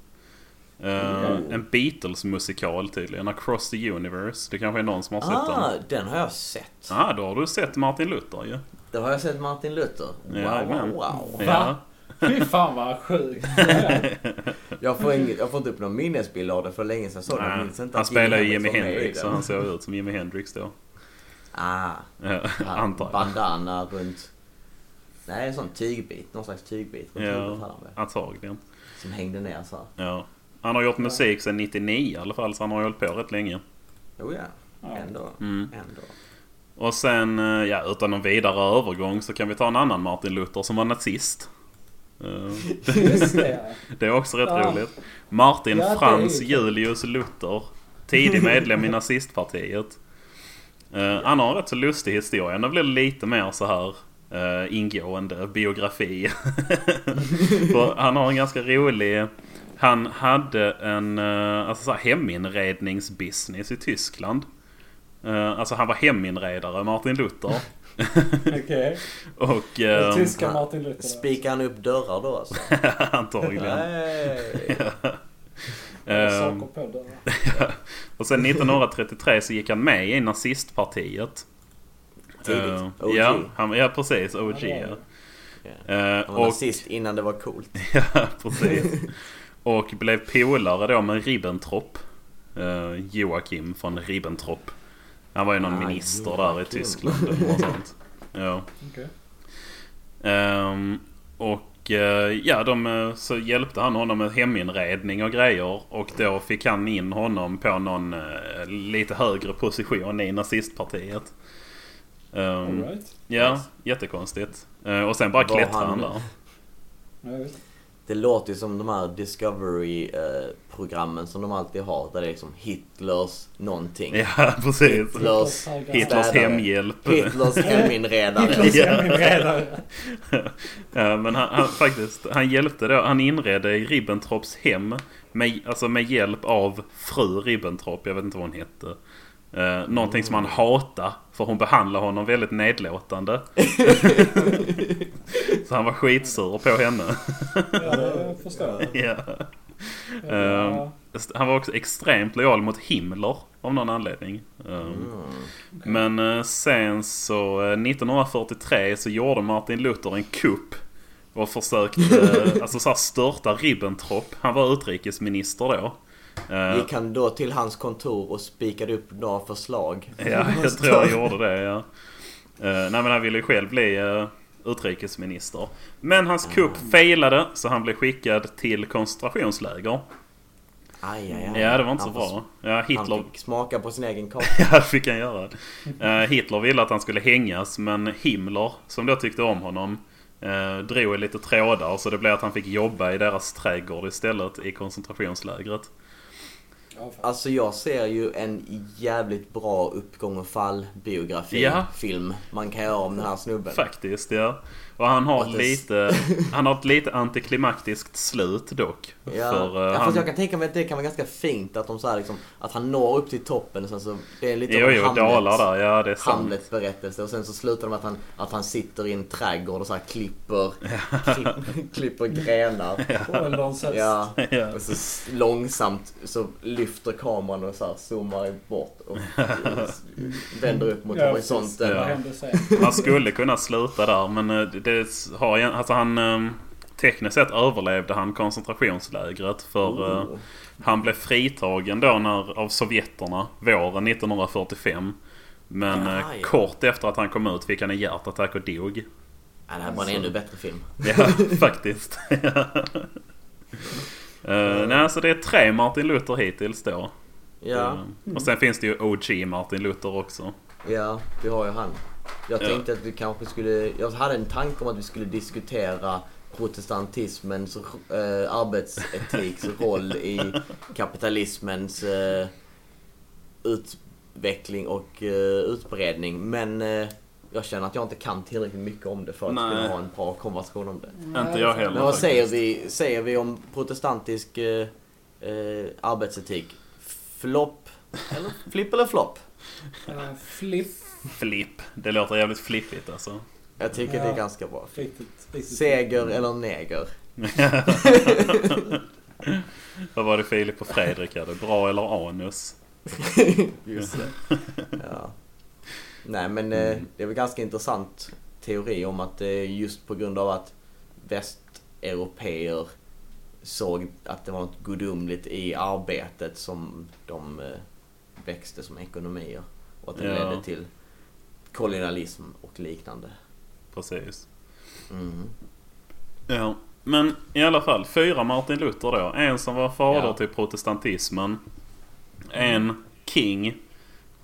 Speaker 1: Mm.
Speaker 2: En Beatles-musikal tydligen. Across the Universe. Det kanske är någon som har sett
Speaker 1: Ah,
Speaker 2: den.
Speaker 1: den har jag sett.
Speaker 2: ah, då har du sett Martin Luther ju.
Speaker 1: Då har jag sett Martin Luther. Wow,
Speaker 2: Jajamän.
Speaker 1: wow, wow.
Speaker 2: Ja.
Speaker 3: Fy fan vad sjukt.
Speaker 1: Jag får, inget, jag får inte upp någon minnesbild av det för länge sedan jag såg den. Jag
Speaker 2: Nej,
Speaker 1: minns inte
Speaker 2: han
Speaker 1: att
Speaker 2: spelar ju Jimi
Speaker 1: var med i
Speaker 2: Hendrix så
Speaker 1: den.
Speaker 2: han såg ut som Jimi Hendrix då.
Speaker 1: Ah,
Speaker 2: Eh,
Speaker 1: han,
Speaker 2: Antar jag.
Speaker 1: bandana runt... Nej, en sån tygbit. Någon slags tygbit runt huvudet hade
Speaker 2: Ja,
Speaker 1: han väl,
Speaker 2: antagligen.
Speaker 1: Som hängde ner så här.
Speaker 2: Ja. Han har gjort musik sedan 99 i alla fall, så han har ju hållit på rätt länge.
Speaker 1: Jo ja,
Speaker 3: Ja.
Speaker 1: ändå.
Speaker 2: Mm.
Speaker 1: Ändå.
Speaker 2: Och sen, eh, ja, utan någon vidare övergång så kan vi ta en annan Martin Luther som var nazist. Eh,
Speaker 3: Just det.
Speaker 2: Det är också rätt
Speaker 3: Ja.
Speaker 2: roligt. Martin
Speaker 3: Ja, det är
Speaker 2: Frans
Speaker 3: ju kul.
Speaker 2: Julius Luther. Tidig medlem i nazistpartiet. Eh, han har en rätt så lustig historia. Den blir lite mer så här eh, ingående biografi. För han har en ganska rolig... Han hade en eh, alltså så här heminredningsbusiness i Tyskland. Eh, alltså han var heminredare, Martin Luther.
Speaker 3: Okej.
Speaker 2: Och...
Speaker 3: Den
Speaker 1: Ehm,
Speaker 2: Eh,
Speaker 3: Tyska Martin Luther.
Speaker 1: Spikar han upp dörrar då alltså?
Speaker 2: antagligen.
Speaker 1: Nej.
Speaker 2: Ehm,
Speaker 3: Saker på dörrar.
Speaker 2: Och sen 1933 så gick han med i nazistpartiet.
Speaker 1: Tidigt.
Speaker 2: Eh,
Speaker 1: OG.
Speaker 2: ja, han, ja, precis. OG.
Speaker 3: Ja, det var
Speaker 2: Ja,
Speaker 3: det.
Speaker 2: Eh,
Speaker 1: Han var nazist innan det var coolt.
Speaker 2: Ja, precis. Och blev polare då med Ribbentrop. Eh, Joakim från Ribbentrop. Han var ju någon
Speaker 1: Ah,
Speaker 2: minister där i
Speaker 1: Joakim.
Speaker 2: Tyskland eller något sånt. Ja.
Speaker 3: Okej.
Speaker 2: Ehm, och eh, ja, de, eh, så hjälpte han honom med heminredning och grejer. Och då fick han in honom på någon eh, lite högre position i nazistpartiet. Ehm,
Speaker 1: Mm.
Speaker 3: Alright.
Speaker 2: Ja, jättekonstigt. Eh, och sen bara
Speaker 1: Var
Speaker 2: klättrade
Speaker 1: han-
Speaker 2: han där.
Speaker 3: Ja, jag vet.
Speaker 1: Det låter ju som de här Discovery-programmen som de alltid har. Där det är liksom Hitlers någonting.
Speaker 2: Ja, precis.
Speaker 1: Hitlers,
Speaker 2: Hitlers
Speaker 1: Städare.
Speaker 2: hemhjälp.
Speaker 1: Hitlers heminredare.
Speaker 3: Hitlers hemligräddare.
Speaker 2: Ja, men han, han, faktiskt, han hjälpte då. Han inredde Ribbentrops hem med, alltså med hjälp av fru Ribbentrop. Jag vet inte vad hon hette. Uh, någonting som han hatade. För hon behandlade honom väldigt nedlåtande. Så han var skitsur på henne.
Speaker 3: Ja, det förstår jag.
Speaker 2: Ja.
Speaker 3: Ja,
Speaker 2: Ehm, Han var också extremt lojal mot Himmler av någon anledning.
Speaker 1: Ah,
Speaker 2: Ehm, Men eh, sen så eh, 1943 så gjorde Martin Luther en kupp och försökte eh, alltså, så här, störta Ribbentrop. Han var utrikesminister då. Eh,
Speaker 1: Gick han då till hans kontor och spikade upp några förslag?
Speaker 2: Ja, jag tror jag gjorde det. Ja. Eh, nej, men han ville ju själv bli eh, utrikesminister. Men hans kupp
Speaker 1: Ah.
Speaker 2: failade så han blev skickad till koncentrationsläger.
Speaker 1: Aj, aj, aj.
Speaker 2: Ja, det var inte så
Speaker 1: Han
Speaker 2: bra. Ja,
Speaker 1: fick-
Speaker 2: Hitler
Speaker 1: Han fick smaka på sin egen kaka.
Speaker 2: Ja, fick han göra. Eh, Hitler ville att han skulle hängas, men Himmler, som då tyckte om honom, eh, drog i lite trådar så det blev att han fick jobba i deras trädgård istället i koncentrationslägret.
Speaker 3: ja, fan.
Speaker 1: Alltså jag ser ju en jävligt bra uppgång och fall biografi
Speaker 2: Ja.
Speaker 1: film man kan göra om den här snubben.
Speaker 2: Faktiskt, ja. Och han har,
Speaker 1: Att det-
Speaker 2: lite, han har ett lite antiklimaktiskt slut dock.
Speaker 1: Ja,
Speaker 2: För, eh,
Speaker 1: ja,
Speaker 2: han,
Speaker 1: fast jag kan tänka mig att det kan vara ganska fint att de så här liksom, att han når upp till toppen och sen så, det är lite
Speaker 2: jo,
Speaker 1: av
Speaker 2: jo, dalar där. Ja, det är sant.
Speaker 1: Hamlets berättelse och sen så slutar de med att han, att han sitter i en trädgård och så här klipper, klipp, klipper grenar.
Speaker 3: Ålderns häst.
Speaker 1: Ja.
Speaker 2: Ja.
Speaker 1: Och så s- långsamt så lyfter kameran och så här zoomar bort och vänder upp mot
Speaker 3: Ja,
Speaker 1: horisonten.
Speaker 3: Vad
Speaker 2: Ja.
Speaker 3: hände sen?
Speaker 2: Han skulle kunna sluta där men eh, det- det har jag, alltså han eh, Tekniskt sett överlevde han koncentrationslägret för eh,
Speaker 1: Oh.
Speaker 2: han blev fritagen då när, av sovjeterna våren 1945. Men eh,
Speaker 1: Aj.
Speaker 2: kort efter att han kom ut fick han en hjärtattack och dog.
Speaker 1: Ja, det här var en ännu bättre film.
Speaker 2: Ja, faktiskt. uh, nej, alltså det är tre Martin Luther hittills då.
Speaker 1: Ja, Mm.
Speaker 2: Eh, och sen finns det ju OG Martin Luther också.
Speaker 1: ja, vi har ju han. Jag
Speaker 2: Ja.
Speaker 1: tänkte att vi kanske skulle, jag hade en tanke om att vi skulle diskutera protestantismens eh, arbetsetiks roll i kapitalismens eh, utveckling och eh, utbredning. Men eh, jag känner att jag inte kan tillräckligt mycket om det för att
Speaker 2: Nej.
Speaker 1: kunna ha en bra konversation om det.
Speaker 2: Inte jag heller.
Speaker 1: Men vad
Speaker 2: faktiskt.
Speaker 1: säger vi, säger vi om protestantisk eh, eh, arbetsetik? Flopp? Eller flipp eller flopp?
Speaker 3: Eh, Flipp.
Speaker 2: Flipp. Det låter jävligt flippigt alltså.
Speaker 1: Jag tycker det
Speaker 3: Ja.
Speaker 1: är ganska bra.
Speaker 3: Riktigt, riktigt.
Speaker 1: Seger eller neger?
Speaker 2: Vad var det Filip och Fredrik hade? Bra eller anus?
Speaker 1: Just det. Ja. Nej men eh, det är väl ganska intressant teori om att eh, just på grund av att västeuropeer såg att det var något gudomligt i arbetet som de eh, växte som ekonomier. Och att det
Speaker 2: Ja.
Speaker 1: ledde till kolonialism och liknande.
Speaker 2: Precis.
Speaker 1: Mm.
Speaker 2: Ja. Men i alla fall, fyra Martin Luther då. En som var fader
Speaker 1: Ja.
Speaker 2: till protestantismen. Mm. En King.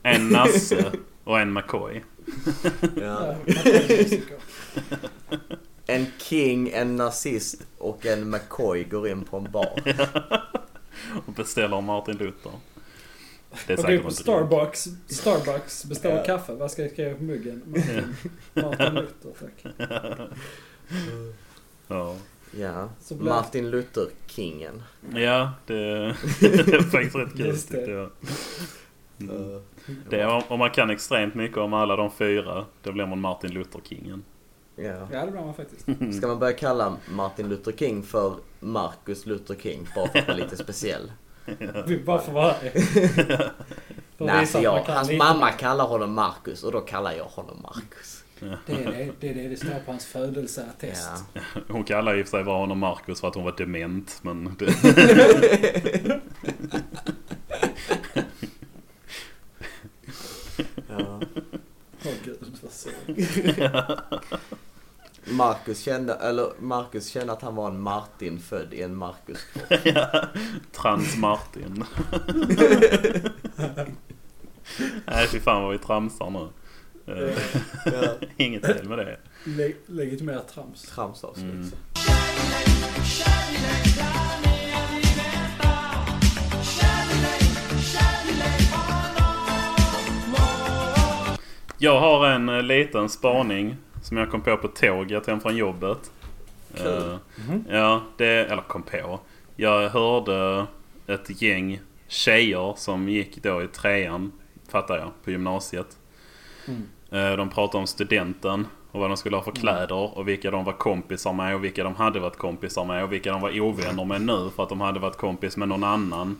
Speaker 2: En Nasse. och en McCoy.
Speaker 1: Ja.
Speaker 3: Ja, fantastiska.
Speaker 1: En king, en nazist och en McCoy går in på en bar.
Speaker 2: Och beställer Martin Luther. Det är
Speaker 3: Och du
Speaker 2: säkert
Speaker 3: på
Speaker 2: en drink.
Speaker 3: Starbucks, Starbucks beställer
Speaker 1: Ja.
Speaker 3: kaffe. Vad ska jag skriva på muggen? Martin, Martin Luther, tack.
Speaker 1: Mm.
Speaker 2: Ja.
Speaker 1: Ja.
Speaker 3: Så blev-
Speaker 1: Martin Luther, kingen.
Speaker 2: ja, det det är faktiskt rätt kul
Speaker 3: Just det.
Speaker 2: tyckte jag.
Speaker 3: Uh.
Speaker 2: Mm. Det är, om man kan extremt mycket om alla de fyra, då blir man Martin Luther-kingen.
Speaker 1: Ja.
Speaker 3: Ja, det blir man faktiskt.
Speaker 2: Mm.
Speaker 1: Ska man börja kalla Martin Luther King för Marcus Luther King bara för att vara lite speciell?
Speaker 3: Vi bara för att vara här. För att
Speaker 1: Nej,
Speaker 3: visa
Speaker 1: för
Speaker 3: att
Speaker 1: jag,
Speaker 3: man kan
Speaker 1: hans
Speaker 3: lite.
Speaker 1: mamma kallar honom Marcus och då kallar jag honom Marcus.
Speaker 3: Det är det det, är det, det står på hans födelseattest.
Speaker 1: Ja.
Speaker 2: Hon kallar i och för sig bara honom Marcus för att hon var dement, men... Det...
Speaker 1: Ja.
Speaker 3: Åh gud, vad så.
Speaker 1: Marcus kände, eller Marcus kände att han var en Martin född i en Marcus.
Speaker 2: Trans-Martin. Nej, fy fan vad vi tramsar nu. Eh,
Speaker 1: Ja.
Speaker 2: Inget fel med det.
Speaker 3: Le- Legitimerat trams.
Speaker 1: Tramsavsnitt.
Speaker 2: Mm. Jag har en eh, liten spaning som jag kom på på tåget hem från jobbet.
Speaker 1: Kul.
Speaker 2: Eh, Ja, det, eller kom på. Jag hörde ett gäng tjejer som gick då i trean, fattar jag, på gymnasiet. Eh, De pratade om studenten och vad de skulle ha för kläder och vilka de var kompisar med och vilka de hade varit kompisar med och vilka de var ovänner med nu för att de hade varit kompis med någon annan.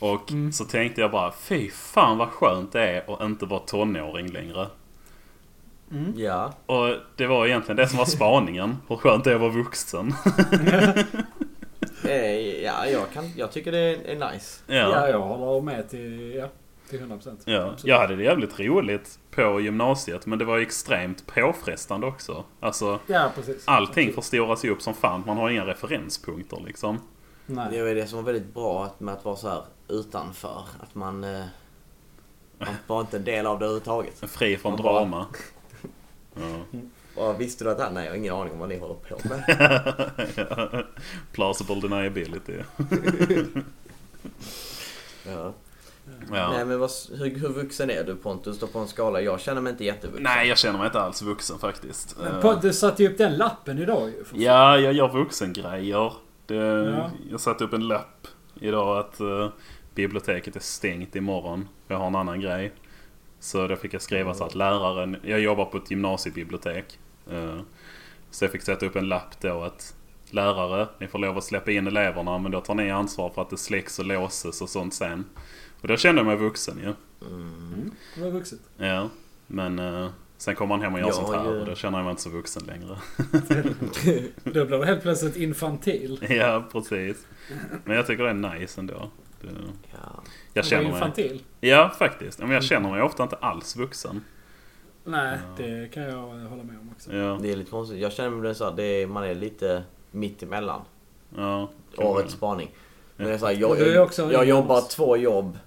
Speaker 2: Och så tänkte jag bara, fy fan vad skönt det är att inte vara tonåring längre.
Speaker 1: Ja.
Speaker 2: Och det var egentligen det som var spaningen. Hur skönt det är att vara vuxen.
Speaker 1: Eh, ja, jag, kan, jag tycker det är, är nice.
Speaker 3: Ja,
Speaker 2: ja.
Speaker 3: jag håller med till, ja, till 100%.
Speaker 2: Ja,
Speaker 3: Absolut.
Speaker 2: jag hade det jävligt roligt på gymnasiet men det var ju extremt påfrestande också. Alltså,
Speaker 3: ja, precis.
Speaker 2: allting förstoras ju upp som fan. Man har inga referenspunkter liksom.
Speaker 1: Det
Speaker 3: Nej.
Speaker 1: var ju det som var väldigt bra att, med att vara så här utanför. Att man, eh, man var inte en del av det överhuvudtaget.
Speaker 2: Fri från
Speaker 1: Man bara-
Speaker 2: drama. Ja.
Speaker 1: Och visste du att han, nej jag har ingen aning om vad ni håller på med.
Speaker 2: Plausible deniability.
Speaker 1: Ja. Nej
Speaker 2: Ja.
Speaker 1: men vad, hur, hur vuxen är du Pontus då på en skala? Jag känner mig inte jättevuxen.
Speaker 2: Nej, jag känner mig inte alls vuxen faktiskt.
Speaker 3: Men
Speaker 2: Eh,
Speaker 3: på, du satte ju upp den lappen idag ju. för fan.
Speaker 2: Ja, jag gör vuxengrejer. Det,
Speaker 3: Ja.
Speaker 2: Jag satte upp en lapp idag att eh, biblioteket är stängt imorgon. Jag har en annan grej. Så då fick jag skriva så att läraren, jag jobbar på ett gymnasiebibliotek. Eh, så jag fick sätta upp en lapp då att lärare, ni får lov att släppa in eleverna men då tar ni ansvar för att det släcks och låses och sånt sen. Och då kände jag mig vuxen ju.
Speaker 3: Det var vuxet.
Speaker 2: Ja, men eh, sen kommer man hem och gör
Speaker 1: Ja,
Speaker 2: sånt här
Speaker 1: ju.
Speaker 2: och då känner jag mig inte så vuxen längre.
Speaker 3: Då blev det helt plötsligt infantil.
Speaker 2: Ja, precis. Men jag tycker det är nice ändå. Det,
Speaker 1: Ja.
Speaker 2: jag
Speaker 3: Det var
Speaker 2: känner mig...
Speaker 3: infantil.
Speaker 2: Ja, faktiskt. Ja, Men jag känner mig ofta inte alls vuxen.
Speaker 3: Nej, det kan jag eh, hålla med om också.
Speaker 2: Ja,
Speaker 1: Det är lite konstigt. Jag känner mig så här, det är, man är lite mitt emellan.
Speaker 2: ja.
Speaker 1: Årets spaning. Men det är så här,
Speaker 3: Men
Speaker 1: jag,
Speaker 3: du är också
Speaker 1: jag
Speaker 3: ingen
Speaker 1: jobbar
Speaker 3: av oss.
Speaker 1: två jobb.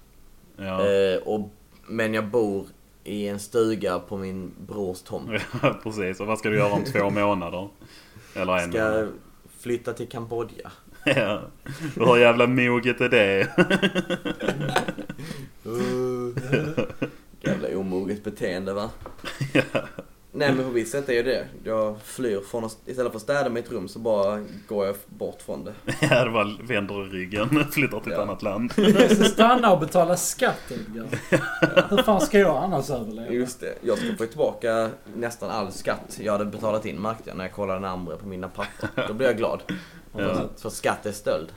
Speaker 2: Ja,
Speaker 1: Eh, och, men jag bor i en stuga på min brors tomt.
Speaker 2: ja precis. Och vad ska du göra om två månader? Eller en
Speaker 1: Ska
Speaker 2: månad?
Speaker 1: flytta till Kambodja.
Speaker 2: Ja. Hur jävla moget är det?
Speaker 1: Uh. Jävla omoget beteende va? Nej men på visst sätt är ju det. Jag flyr från, att- istället för att städa mitt rum så bara går jag bort från det.
Speaker 2: Ja, det bara vänder ryggen. Flyttar till ett
Speaker 1: Ja.
Speaker 2: annat land.
Speaker 3: Du måste stanna och betala skatt Edgar. Hur fan ska jag annars överleva?
Speaker 1: Just det. Jag ska få tillbaka nästan all skatt jag hade betalat in märkte jag när jag kollade närmare på mina papper. Då blev jag glad.
Speaker 2: Ja.
Speaker 1: För skatt är stöld.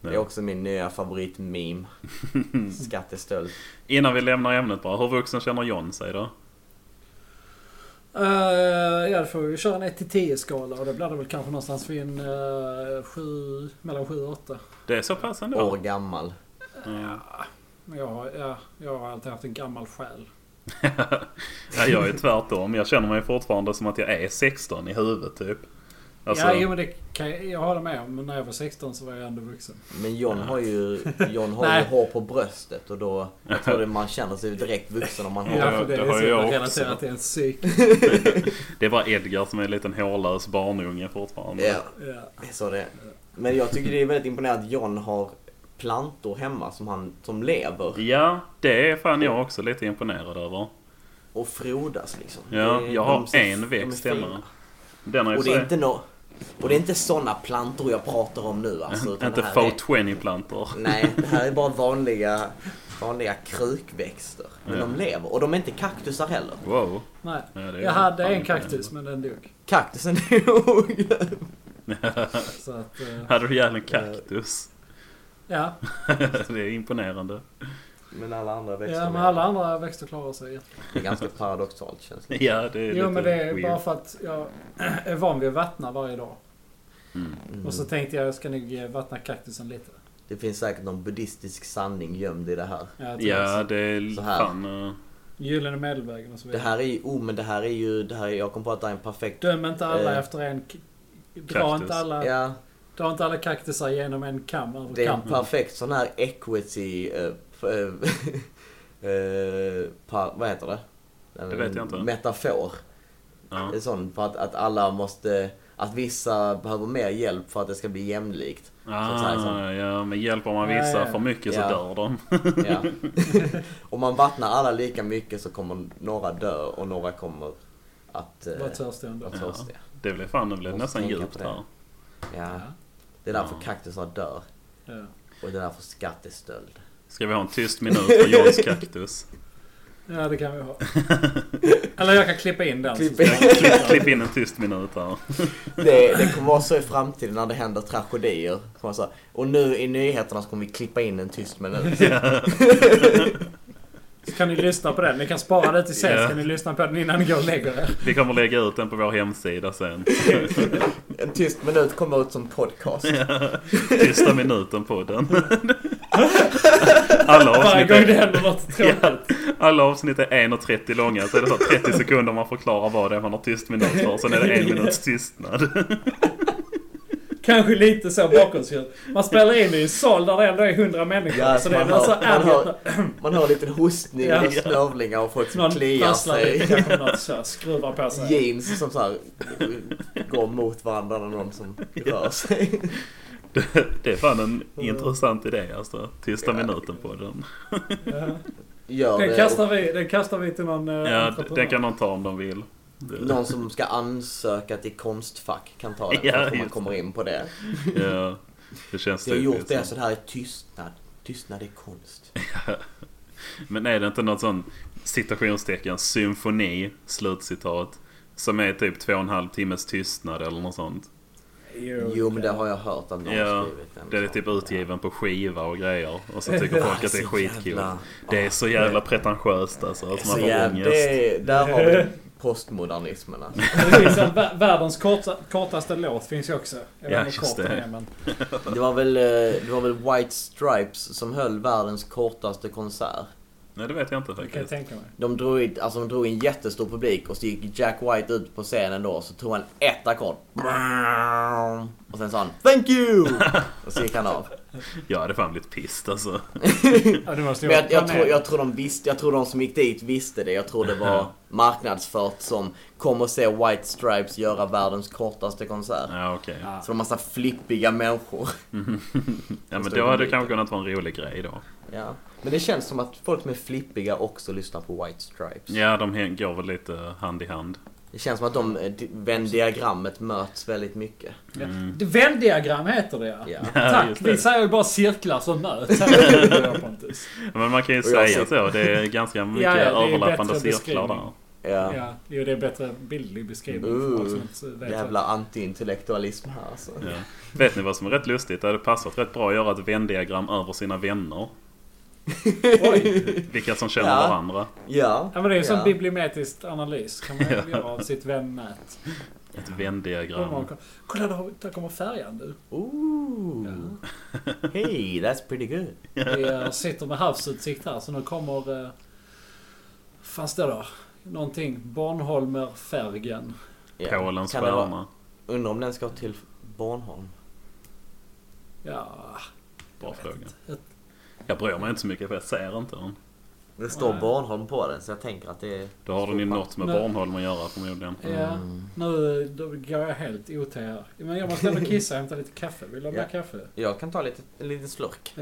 Speaker 1: Det är
Speaker 2: Ja.
Speaker 1: också min nya favoritmeme. Skatt är stöld.
Speaker 2: Innan vi lämnar ämnet bara. Hur vuxen känner John sig då?
Speaker 3: Uh, ja, då får vi köra en 1 till 10 skala och då blir det väl kanske någonstans vid en eh, sju, mellan 7 och 8.
Speaker 2: Det är så pass
Speaker 1: År
Speaker 2: ändå.
Speaker 1: gammal.
Speaker 3: Men jag har, ja, jag har alltid haft en gammal själ.
Speaker 2: Ja, jag är tvärtom. Jag känner mig fortfarande som att jag är 16 i huvudet typ. Alltså,
Speaker 3: ja, jo, men det kan jag, jag håller med om. Men när jag var 16 så var jag ändå vuxen.
Speaker 1: Men John har ju, John har ju
Speaker 3: Nej.
Speaker 1: hår på bröstet och då jag tror det man känner sig direkt vuxen om man har
Speaker 2: Ja,
Speaker 3: Ja,
Speaker 1: det.
Speaker 3: för det,
Speaker 2: det
Speaker 3: är
Speaker 2: har
Speaker 3: så
Speaker 2: jag
Speaker 3: jag
Speaker 2: också.
Speaker 3: relaterat till en psyk.
Speaker 2: Det är bara Edgar som är en liten hårlös barnunge fortfarande.
Speaker 1: Ja,
Speaker 3: Ja.
Speaker 1: det är så det är. Men jag tycker det är väldigt imponerande att John har plantor hemma som, han, som lever
Speaker 2: Ja, det är fan jag också lite imponerad över.
Speaker 1: och frodas liksom.
Speaker 2: Ja,
Speaker 1: Det är-
Speaker 2: jag
Speaker 1: de
Speaker 2: har
Speaker 1: ser- de
Speaker 2: en
Speaker 1: är
Speaker 2: växt
Speaker 1: fina.
Speaker 2: hemma. Den har
Speaker 1: Och det är
Speaker 2: jag
Speaker 1: inte nå... Och det är inte såna plantor jag pratar om nu alltså. utan
Speaker 2: inte
Speaker 1: det här är-
Speaker 2: fo20-plantor.
Speaker 1: Nej, det här är bara vanliga, vanliga krukväxter. Men de lever. Och de är inte kaktusar heller.
Speaker 2: Wow.
Speaker 3: Nej.
Speaker 2: Ja, det är
Speaker 3: jag hade
Speaker 2: fan
Speaker 3: en
Speaker 2: imponerande.
Speaker 3: kaktus men den dog.
Speaker 1: Kaktusen är ogräs.
Speaker 3: Så att, eh,
Speaker 2: Hade du ihjäl en kaktus?
Speaker 3: ja.
Speaker 2: det är imponerande.
Speaker 1: Men alla andra växter
Speaker 3: Ja, men
Speaker 1: med.
Speaker 3: alla andra växter klarar sig.
Speaker 1: Det är ganska paradoxalt känns det.
Speaker 2: Ja, det är lite
Speaker 3: Jo, men det är
Speaker 2: weird.
Speaker 3: bara för att jag är van vid att vattna varje dag.
Speaker 2: Mm.
Speaker 3: Och så tänkte jag, jag ska nog vattna kaktusen lite.
Speaker 1: Mm. Det finns säkert någon buddhistisk sanning gömd i det här.
Speaker 3: Ja,
Speaker 2: Ja,
Speaker 3: ja.
Speaker 2: det är
Speaker 1: Så här.
Speaker 2: fan... eh,
Speaker 3: Gyllene medelvägen och så
Speaker 1: Det
Speaker 3: vidare.
Speaker 1: här är ju, oh men det här är ju, det här är, jag kom på att det här är en perfekt...
Speaker 3: Döm inte alla
Speaker 1: Eh,
Speaker 3: efter en... k- Dra inte, alla,
Speaker 1: Ja,
Speaker 3: dra inte alla kaktusar genom en kam över
Speaker 1: det är en
Speaker 3: kampen.
Speaker 1: perfekt sån här equity... eh, f- eh, eh, pa, vad heter det?
Speaker 2: Det vet jag inte.
Speaker 1: Metafor.
Speaker 2: ja.
Speaker 1: Det är sån för att, att alla måste... Att vissa behöver mer hjälp för att det ska bli jämlikt. Så att säga så.
Speaker 2: Ah, ja, men hjälper man
Speaker 3: Ja,
Speaker 2: vissa
Speaker 3: ja.
Speaker 2: för mycket så
Speaker 1: Ja.
Speaker 2: dör de.
Speaker 1: Ja. Om man vattnar alla lika mycket så kommer några dö och några kommer att eh,
Speaker 3: Var törstig ändå.
Speaker 1: vara törstiga.
Speaker 2: Det blev fan, det blev
Speaker 1: Måste
Speaker 2: nästan
Speaker 1: tänka
Speaker 2: djupt
Speaker 1: på det.
Speaker 2: här.
Speaker 1: Ja.
Speaker 3: Ja.
Speaker 1: Det är därför
Speaker 2: Ja.
Speaker 1: kaktusar dör
Speaker 3: Ja.
Speaker 1: och det är därför skattestöld.
Speaker 2: Ska vi ha en tyst minut för Johns kaktus?
Speaker 3: ja, det kan vi ha. Eller jag kan klippa in den.
Speaker 1: Klipp
Speaker 3: så ska jag-
Speaker 2: Klipp, klipp in en tyst minut här.
Speaker 1: Det, det kommer vara så i framtiden när det händer tragedier. Kommer vara så här, och nu i nyheterna så kommer vi klippa in en tyst minut.
Speaker 3: Så kan ni lyssna på den. Ni kan spara det till sen.
Speaker 2: Ja.
Speaker 3: så kan ni lyssna på den innan ni går och lägger er.
Speaker 2: Vi kommer lägga ut den på vår hemsida sen.
Speaker 1: En tyst minut kommer ut som podcast.
Speaker 2: Tysta minuten-podden. Alla
Speaker 3: Varje
Speaker 2: avsnitt,
Speaker 3: gång det
Speaker 2: är,
Speaker 3: händer något tråkigt.
Speaker 2: alla avsnitt är 1.30 långa, så är det så här 30 sekunder man förklarar vad det är man har tyst minut för, sen är det en minuts tystnad.
Speaker 3: Kanske lite så bakgrundsljud. Man spelar in i en sal där det ändå är 100 människor.
Speaker 1: Ja,
Speaker 3: så
Speaker 1: så
Speaker 3: det är
Speaker 1: Alltså, man
Speaker 3: väl så
Speaker 1: hör- man
Speaker 3: ärligt.
Speaker 1: hör- Man hör en liten hostning
Speaker 3: Ja.
Speaker 1: och snövlingar och folk som
Speaker 3: Någon
Speaker 1: kliar
Speaker 3: prasslar lite
Speaker 1: sig.
Speaker 3: kanske något så. Skruvar på sig.
Speaker 1: Jeans som så här går mot varandra när någon som rör sig.
Speaker 2: Det är fan en intressant idé alltså. Tysta minuten-podden.
Speaker 3: Ja.
Speaker 1: Gör
Speaker 3: Den
Speaker 1: det.
Speaker 3: kastar vi, den kastar vi till någon eh,
Speaker 2: Ja, d-
Speaker 3: entreprenör.
Speaker 2: den kan de ta om de vill. Det-
Speaker 1: Någon som ska ansöka till Konstfack kan ta den.
Speaker 2: Ja,
Speaker 1: kanske man
Speaker 2: just
Speaker 1: kommer
Speaker 2: det.
Speaker 1: in på det.
Speaker 2: Ja, det känns
Speaker 1: Jag har gjort
Speaker 2: typiskt.
Speaker 1: det så
Speaker 2: så.
Speaker 1: det här är tystnad. Tystnad är konst.
Speaker 2: Men är det inte något sån citationstecken symfoni, slutcitat, som är typ två och en halv timmes tystnad eller något sånt?
Speaker 1: Jo men det har jag hört att någon
Speaker 2: Ja,
Speaker 1: har skrivit. en
Speaker 2: det är
Speaker 1: sån.
Speaker 2: typ utgiven på skiva och grejer. Och så tycker
Speaker 1: Ja,
Speaker 2: folk att det är
Speaker 1: så
Speaker 2: skitkul.
Speaker 1: jävla-
Speaker 2: Det är så jävla pretentiöst alltså. Att
Speaker 1: Så
Speaker 2: man har
Speaker 1: jävla,
Speaker 2: ångest.
Speaker 1: det är, där har vi postmodernismen alltså.
Speaker 3: Det finns en, vä- världens korta, kortaste låt finns ju också. Jag
Speaker 2: Ja,
Speaker 3: vet inte hur
Speaker 2: just
Speaker 3: kort den
Speaker 2: det.
Speaker 3: är men.
Speaker 1: Det var väl, eh, det var väl White Stripes som höll världens kortaste konsert.
Speaker 2: Nej, det vet jag inte
Speaker 3: Det kan jag
Speaker 2: faktiskt.
Speaker 3: tänka mig.
Speaker 1: De drog, in- alltså de drog in jättestor publik och så gick Jack White ut på scenen då så tog han ett ackord. Och sen sa han Thank you! Och så gick han av.
Speaker 2: Jag hade fan blivit pissed alltså.
Speaker 3: Ja, det måste ju
Speaker 1: Men jag, jag,
Speaker 3: vara
Speaker 1: tror, jag, tror de visste, jag tror de som gick dit visste det. Jag tror det var marknadsfört som kom och se White Stripes göra världens kortaste konsert.
Speaker 2: Ja, okej.
Speaker 3: Ja.
Speaker 1: Så det var massa flippiga människor.
Speaker 2: Ja, men
Speaker 1: Förstår
Speaker 2: då hade det
Speaker 1: publiken.
Speaker 2: kanske kunnat vara en rolig grej då.
Speaker 1: Ja. Men det känns som att folk som är flippiga också lyssnar på White Stripes.
Speaker 2: Ja, de häng- går väl lite hand i hand.
Speaker 1: Det känns som att de, eh, di- Venn-diagrammet möts väldigt mycket.
Speaker 3: Ja. Det Venn-diagram Mm. heter det ja.
Speaker 1: Ja.
Speaker 2: Mm. Ja,
Speaker 3: Tack!
Speaker 2: just
Speaker 3: Vi
Speaker 2: det.
Speaker 3: säger ju bara cirklar som möts. här är det bra, Pontus.
Speaker 2: Men man kan ju
Speaker 1: Och jag
Speaker 2: säga
Speaker 1: ser-
Speaker 2: så. Det är ganska mycket
Speaker 3: ja, det är
Speaker 2: överlappande
Speaker 3: bättre
Speaker 2: cirklar där.
Speaker 3: beskrivning.
Speaker 1: Ja.
Speaker 3: Ja, jo, det är bättre bildlig beskrivning. för folk som inte vet
Speaker 1: Jävla antiintellektualism här alltså.
Speaker 2: Ja. Vet ni vad som är rätt lustigt? Det hade passat rätt bra att göra ett vändiagram över sina vänner.
Speaker 3: det. Oj!
Speaker 2: Vilka som känner
Speaker 1: Ja.
Speaker 2: varandra.
Speaker 1: Ja.
Speaker 3: Ja, men det är ju som
Speaker 1: Ja.
Speaker 3: bibliometrisk analys. Kan man göra av sitt vännät.
Speaker 2: Ett
Speaker 3: Och man
Speaker 2: vändiagram.
Speaker 3: kan- Kolla, där har- där kommer färjan nu.
Speaker 1: Ooh. Hey, that's pretty good.
Speaker 3: Vi eh, sitter med havsutsikt här så nu kommer... eh, Fan står det då? Någonting. Bornholmerfärgen.
Speaker 1: Ja.
Speaker 2: Polens
Speaker 1: Kan det vara-
Speaker 2: stjärna.
Speaker 1: Undrar om den ska till Bornholm.
Speaker 3: Ja...
Speaker 2: Bra fråga.
Speaker 3: Ett-
Speaker 2: Jag bryr mig inte så mycket för jag ser inte den.
Speaker 1: Det står
Speaker 3: Nej.
Speaker 1: Bornholm på den så jag tänker att det är...
Speaker 2: Då har den ju något med
Speaker 3: Nej.
Speaker 2: Bornholm att göra förmodligen.
Speaker 3: Ja,
Speaker 1: Mm.
Speaker 3: nu då går jag helt OT här. Men jag måste ändå kissa och hämta lite kaffe. Vill du ha mer
Speaker 1: Ja.
Speaker 3: kaffe?
Speaker 1: Jag kan ta lite, en liten slurk.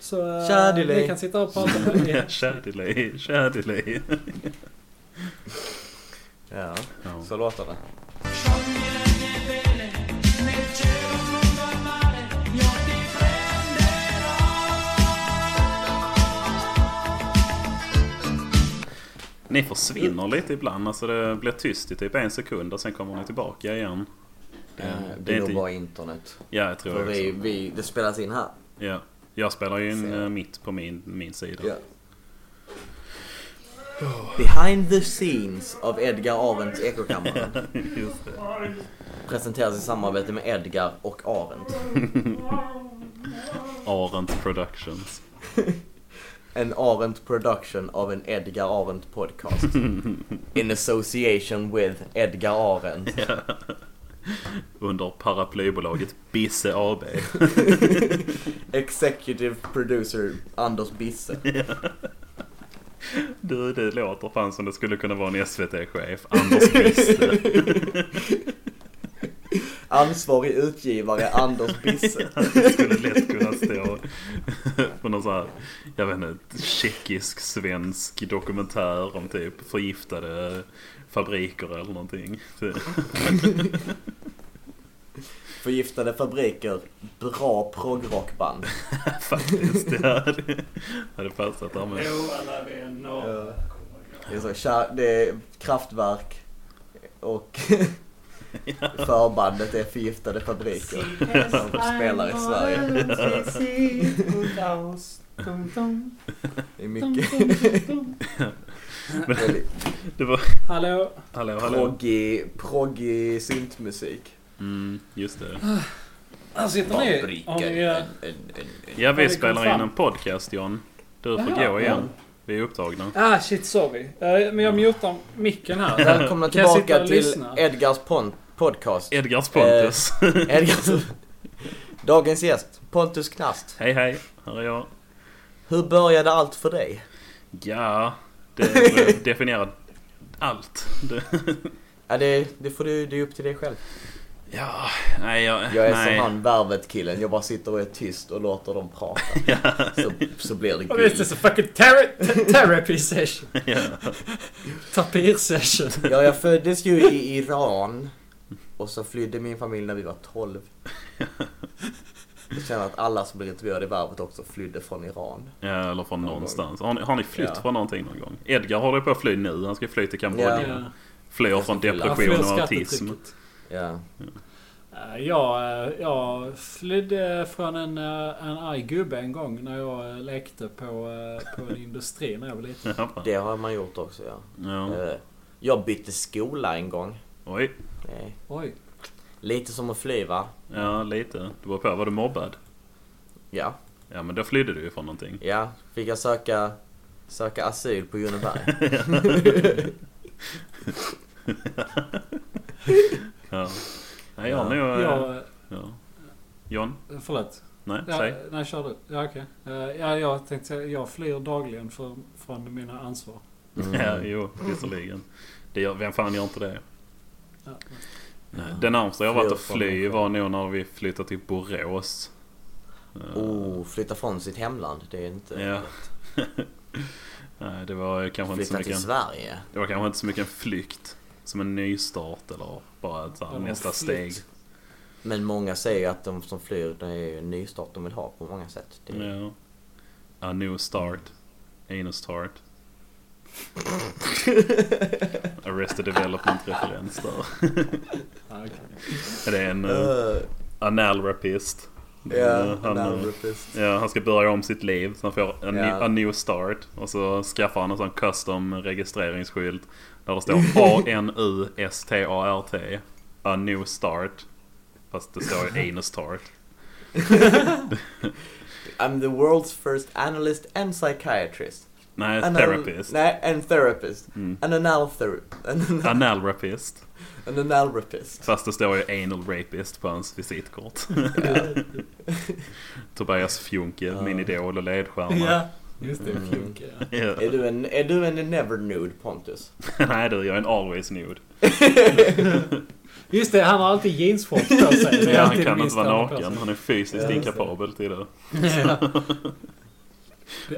Speaker 3: Så eh,
Speaker 1: Tja, Dilly.
Speaker 3: ni kan sitta och prata med mig.
Speaker 2: Shadily, shadily.
Speaker 1: Ja,
Speaker 2: Ja.
Speaker 1: så låter det.
Speaker 6: Scioglie le mie vele, nel cielo un mondo al mare, io ti
Speaker 2: Ni försvinner lite ibland. Alltså det blir tyst i typ en sekund och sen kommer ni tillbaka igen. Det,
Speaker 1: Eh, Det
Speaker 2: det är
Speaker 1: är nog
Speaker 2: inte,
Speaker 1: bara internet.
Speaker 2: ja, jag tror
Speaker 1: För
Speaker 2: jag
Speaker 1: vi,
Speaker 2: också.
Speaker 1: vi, det spelas in här.
Speaker 2: Ja. Jag spelar ju in
Speaker 1: Ser.
Speaker 2: eh, mitt på min, min sida.
Speaker 1: Ja. Oh. Behind the scenes av Edgar Arendts Ekokammaren
Speaker 2: Just det.
Speaker 1: presenteras i samarbete med Edgar och Arendt.
Speaker 2: Arendt Productions.
Speaker 1: En Arendt production av en Edgar Arendt podcast. In association with Edgar Arendt.
Speaker 2: Under paraplybolaget Bisse AB.
Speaker 1: Executive producer Anders Bisse.
Speaker 2: Du, det låter fan som det skulle kunna vara en SVT-chef. Anders Bisse.
Speaker 1: Ansvarig utgivare Anders Bisse.
Speaker 2: Det skulle lätt kunna stå på någon sån här, jag vet inte, tjeckisk-svensk dokumentär om typ förgiftade fabriker eller någonting.
Speaker 1: Förgiftade fabriker. Bra proggrockband.
Speaker 2: Faktiskt, det hade, hade passat där med.
Speaker 6: alla vänner.
Speaker 1: Ja. Det är, så, kär- det är kraftverk och förbandet är förgiftade fabriker. Som spelar i Sverige. Det är mycket väldigt
Speaker 2: Det var,
Speaker 3: Hallå?
Speaker 2: hallå, hallå.
Speaker 1: proggig, proggig syntmusik.
Speaker 2: Mm, just det.
Speaker 3: Ah, Här sitter ni. Har ni, eh,
Speaker 2: Ja,
Speaker 3: Har
Speaker 2: vi
Speaker 3: vi kommit
Speaker 2: spelar in
Speaker 3: fram?
Speaker 2: en podcast, John. Du får
Speaker 3: Jaha.
Speaker 2: gå igen. Vi är upptagna.
Speaker 3: Ah shit, sorry. Eh, Men jag mutar micken här.
Speaker 1: Välkomna
Speaker 3: Kan jag sitta
Speaker 1: tillbaka
Speaker 3: och
Speaker 1: till
Speaker 3: lyssna?
Speaker 1: Edgars pon- podcast.
Speaker 2: Edgars Pontus.
Speaker 1: Edgars... Dagens gäst, Pontus Knast.
Speaker 2: Hej, hej. Här är jag.
Speaker 1: Hur började allt för dig?
Speaker 2: Ja, det definierar allt. Det,
Speaker 1: Ja, det, det får du, det är upp till dig själv.
Speaker 2: ja, nej, jag...
Speaker 1: Jag är
Speaker 2: nej.
Speaker 1: som han Värvet-killen. Jag bara sitter och är tyst och låter dem prata. så, så blir det
Speaker 3: Oh, this
Speaker 1: guld.
Speaker 3: is a fucking ter- ter- therapy session.
Speaker 2: Ja.
Speaker 3: Tapir session.
Speaker 1: Ja, jag föddes ju i Iran. Och så flydde min familj när vi var 12. Jag känner att alla som blev intervjuade i Värvet också flydde från Iran.
Speaker 2: Ja, eller från någonstans. Har ni, har ni flytt
Speaker 1: Ja.
Speaker 2: från någonting någon gång? Edgar håller på att fly nu. Han ska fly till Kambodja.
Speaker 1: Ja.
Speaker 2: Flyr från
Speaker 3: Ja,
Speaker 2: depression
Speaker 3: fler
Speaker 2: och
Speaker 3: skattetrycket.
Speaker 2: autism.
Speaker 1: Ja.
Speaker 3: Eh, Jag, eh, jag flydde från en, eh, en arg gubbe en gång när jag eh, lekte på, eh, på en industri när jag var liten.
Speaker 2: Ja.
Speaker 1: Det har man gjort också, ja.
Speaker 2: Ja.
Speaker 1: Eh, Jag bytte skola en gång.
Speaker 2: Oj.
Speaker 1: Eh,
Speaker 3: Oj.
Speaker 1: Lite som att fly, va?
Speaker 2: Ja, lite. Du var på. Var du mobbad?
Speaker 1: Ja.
Speaker 2: Ja, men då flydde du ju från någonting.
Speaker 1: Ja, fick jag söka, söka asyl på Juniberg.
Speaker 2: Ja. Nej, jag har nog... eh, Ja.
Speaker 3: Jag,
Speaker 2: John?
Speaker 3: eh, förlåt.
Speaker 2: Nej,
Speaker 3: Ja,
Speaker 2: säg.
Speaker 3: nej, kör du. Ja, okej. Eh, Ja, jag tänkte säga, jag flyr dagligen för, från mina ansvar.
Speaker 1: Mm.
Speaker 2: Ja, jo, visserligen. Det gör, vem fan gör inte det?
Speaker 3: Ja.
Speaker 2: Det närmsta jag varit att
Speaker 1: Flyr från
Speaker 2: fly
Speaker 1: någon.
Speaker 2: var nog när vi flyttade till Borås. Eh,
Speaker 1: Oh, flytta från sitt hemland. Det är inte...
Speaker 2: Ja. Nej, det var kanske inte så
Speaker 1: Flytta
Speaker 2: mycket...
Speaker 1: till Sverige.
Speaker 2: Det var kanske inte så mycket en flykt som en nystart eller bara ett så här,
Speaker 3: Eller
Speaker 2: nästa
Speaker 3: en
Speaker 2: steg.
Speaker 3: flykt.
Speaker 1: Men många säger ju att de som flyr, det är ju en nystart de vill ha på många sätt. Det är...
Speaker 2: Ja. A new start. Anus start. Arrested development referens där.
Speaker 3: Ja, okej.
Speaker 2: Det är en uh,
Speaker 1: Eh,
Speaker 2: analrapist.
Speaker 1: ja,
Speaker 2: Eh, han, eh,
Speaker 1: analrapist.
Speaker 2: ja, han ska börja om sitt liv så han får a,
Speaker 1: Ja.
Speaker 2: new, a new start. Och så skaffar han en sån custom registreringsskylt. Där det står A-N-U-S-T-A-R-T. A new start. Fast det står ju anus start.
Speaker 1: I'm the world's first analyst and psychiatrist.
Speaker 2: Nej,
Speaker 1: Anal-
Speaker 2: therapist.
Speaker 1: Nej, and therapist.
Speaker 2: Mm.
Speaker 1: An anal ther- an, anal-
Speaker 2: Analrapist.
Speaker 1: an analrapist.
Speaker 2: Fast det står ju anal rapist på hans visitkort. Tobias Fjunke,
Speaker 1: Ja.
Speaker 2: min idol och ledstjärna.
Speaker 3: Ja, just det.
Speaker 1: Mm.
Speaker 3: Fjunk, ja.
Speaker 2: Ja.
Speaker 1: Är du en, är du en never nude Pontus?
Speaker 2: Nej du, jag är en always nude.
Speaker 3: Just det, han har alltid jeansshorts på sig. Det är
Speaker 2: Ja, han
Speaker 3: alltid
Speaker 2: kan
Speaker 3: det
Speaker 2: inte
Speaker 3: minsta
Speaker 2: vara
Speaker 3: han har på
Speaker 2: naken.
Speaker 3: sig.
Speaker 2: Han är fysiskt
Speaker 3: Ja, just det.
Speaker 2: inkapabel till det.
Speaker 3: Ja.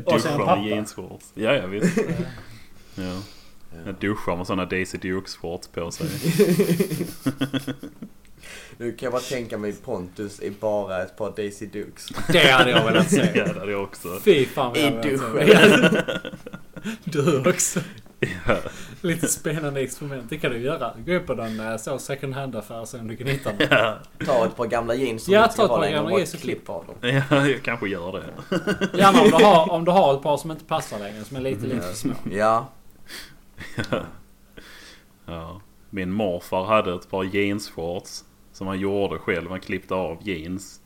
Speaker 3: Och sen
Speaker 2: Duschar med
Speaker 3: pappa.
Speaker 2: jeansshorts. Ja, ja visst. Ja. Jag duschar med sådana Daisy Dukes-shorts på sig.
Speaker 1: Nu kan jag bara tänka mig Pontus i bara ett par Daisy Dukes.
Speaker 3: Det hade jag velat
Speaker 2: Ja,
Speaker 3: se.
Speaker 2: det hade jag också.
Speaker 3: Fy fan vad
Speaker 1: I
Speaker 3: jag hade velat se.
Speaker 1: duschen.
Speaker 3: Du också.
Speaker 2: Ja.
Speaker 3: Lite spännande experiment. Det kan du göra. Gå upp på någon eh, så second hand-affär och se om du kan hitta något.
Speaker 1: Ta ett par gamla jeans som
Speaker 3: Ja,
Speaker 1: du inte
Speaker 3: ta
Speaker 1: ska
Speaker 3: ett
Speaker 1: ha
Speaker 3: par
Speaker 1: längre och
Speaker 3: gamla
Speaker 1: bara
Speaker 3: jeans och klipp.
Speaker 1: klipp av dem.
Speaker 2: Ja, jag kanske gör det.
Speaker 3: Gärna om du, har, om du har ett par som inte passar längre, som är lite, lite för små.
Speaker 1: Ja.
Speaker 2: Ja. Min morfar hade ett par jeansshorts som han gjorde själv. Han klippte av jeans.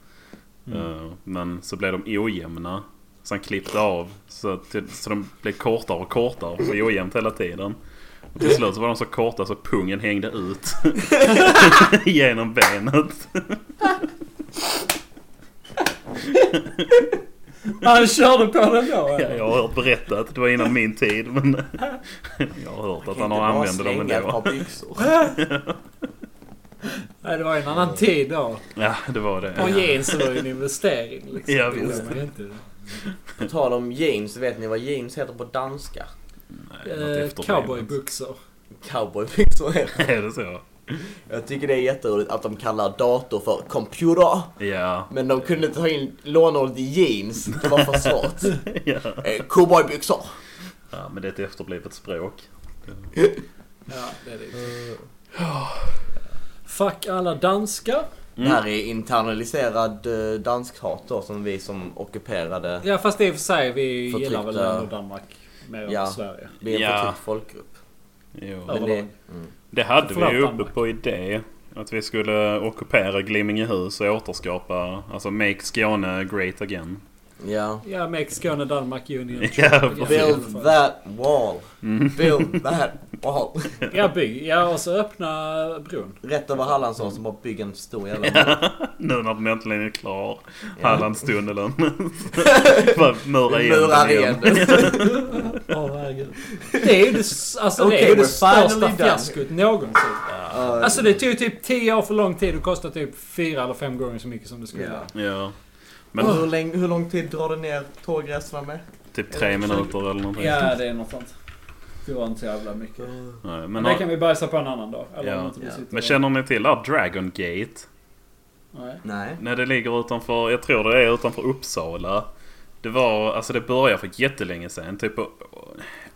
Speaker 3: Mm.
Speaker 2: Eh, Men så blev de ojämna. Så han klippte av så, till, så de blev kortare och kortare. Så ojämnt hela tiden. Och till slut så var de så korta så pungen hängde ut genom benet.
Speaker 3: Han körde på den då
Speaker 2: Ja,
Speaker 3: eller?
Speaker 2: jag har hört berättat. Det var innan min tid. Men jag har hört att han har använt dem
Speaker 1: ett par
Speaker 2: ändå.
Speaker 1: byxor.
Speaker 3: Nej, det var en annan tid då.
Speaker 2: Ja, det var det.
Speaker 3: Och jeans var ju en investering liksom.
Speaker 2: Ja,
Speaker 3: Det gjorde
Speaker 2: visst.
Speaker 3: man ju inte.
Speaker 1: På tal om jeans, vet ni vad jeans heter på danska?
Speaker 2: Nej, något
Speaker 3: Eh,
Speaker 2: efterblivet.
Speaker 3: Cowboybyxor.
Speaker 1: Cowboybyxor heter det.
Speaker 2: Är det så?
Speaker 1: Jag tycker det är jätteroligt att de kallar dator för computer.
Speaker 2: Ja.
Speaker 1: Men de kunde ta in lånordet i jeans. Det var för svårt.
Speaker 2: ja.
Speaker 1: Eh, Cowboybyxor.
Speaker 2: Ja, men det är ett efterblivet språk.
Speaker 3: Ja, det är det ju. Fuck alla danskar.
Speaker 1: Det här är internaliserad eh, danskhat då som vi som ockuperade.
Speaker 3: Ja, fast i och för sig, vi
Speaker 1: Förtryckta-
Speaker 3: gillar väl ändå Danmark mer
Speaker 1: Ja.
Speaker 3: än Sverige.
Speaker 1: Vi är en
Speaker 2: Ja.
Speaker 1: förtryckt folkgrupp.
Speaker 2: Jo.
Speaker 1: Men
Speaker 3: Överlag.
Speaker 1: det,
Speaker 2: Det hade vi
Speaker 3: Förlåt,
Speaker 2: ju uppe
Speaker 3: Danmark.
Speaker 2: på idé. Att vi skulle ockupera Glimmingehus och återskapa, alltså make Skåne great again.
Speaker 1: ja.
Speaker 3: Ja, Make Skåne, Danmark, Union.
Speaker 2: Ja,
Speaker 1: Build that wall. Build that wall.
Speaker 3: Ja, bygg. Ja, och så öppna bron.
Speaker 1: Rätt över Hallandsås som bara bygger en stor jävla mur.
Speaker 2: Nu när den äntligen är klar. Hallandstunneln. Bara Mura igen.
Speaker 1: Murar
Speaker 2: den
Speaker 1: igen.
Speaker 3: Åh herregud. Det är ju det, s- alltså, det,
Speaker 1: Okej,
Speaker 3: är ju det
Speaker 1: we're finally
Speaker 3: största
Speaker 1: done.
Speaker 3: fiaskot någonsin. Alltså det tog typ 10 år för lång tid och kostade typ fyra eller fem gånger så mycket som det skulle.
Speaker 1: Ja.
Speaker 2: Ja. Men
Speaker 1: Men
Speaker 3: Oh.
Speaker 1: hur, länge, hur lång tid drar det ner tågrälserna med?
Speaker 2: typ tre minuter eller någonting.
Speaker 3: Ja, det är något sånt. Det var inte så jävla mycket.
Speaker 2: Nej,
Speaker 3: Men
Speaker 2: men,
Speaker 3: det kan vi bajsa på en annan dag. Eller om
Speaker 2: Ja.
Speaker 3: inte vi
Speaker 1: Ja.
Speaker 3: sitter
Speaker 2: men
Speaker 3: och-
Speaker 2: känner ni till där Dragon Gate?
Speaker 3: Nej.
Speaker 1: Nej.
Speaker 2: Nej, det ligger utanför, jag tror det är utanför Uppsala. Det var, alltså det började för jättelänge sedan. Typ på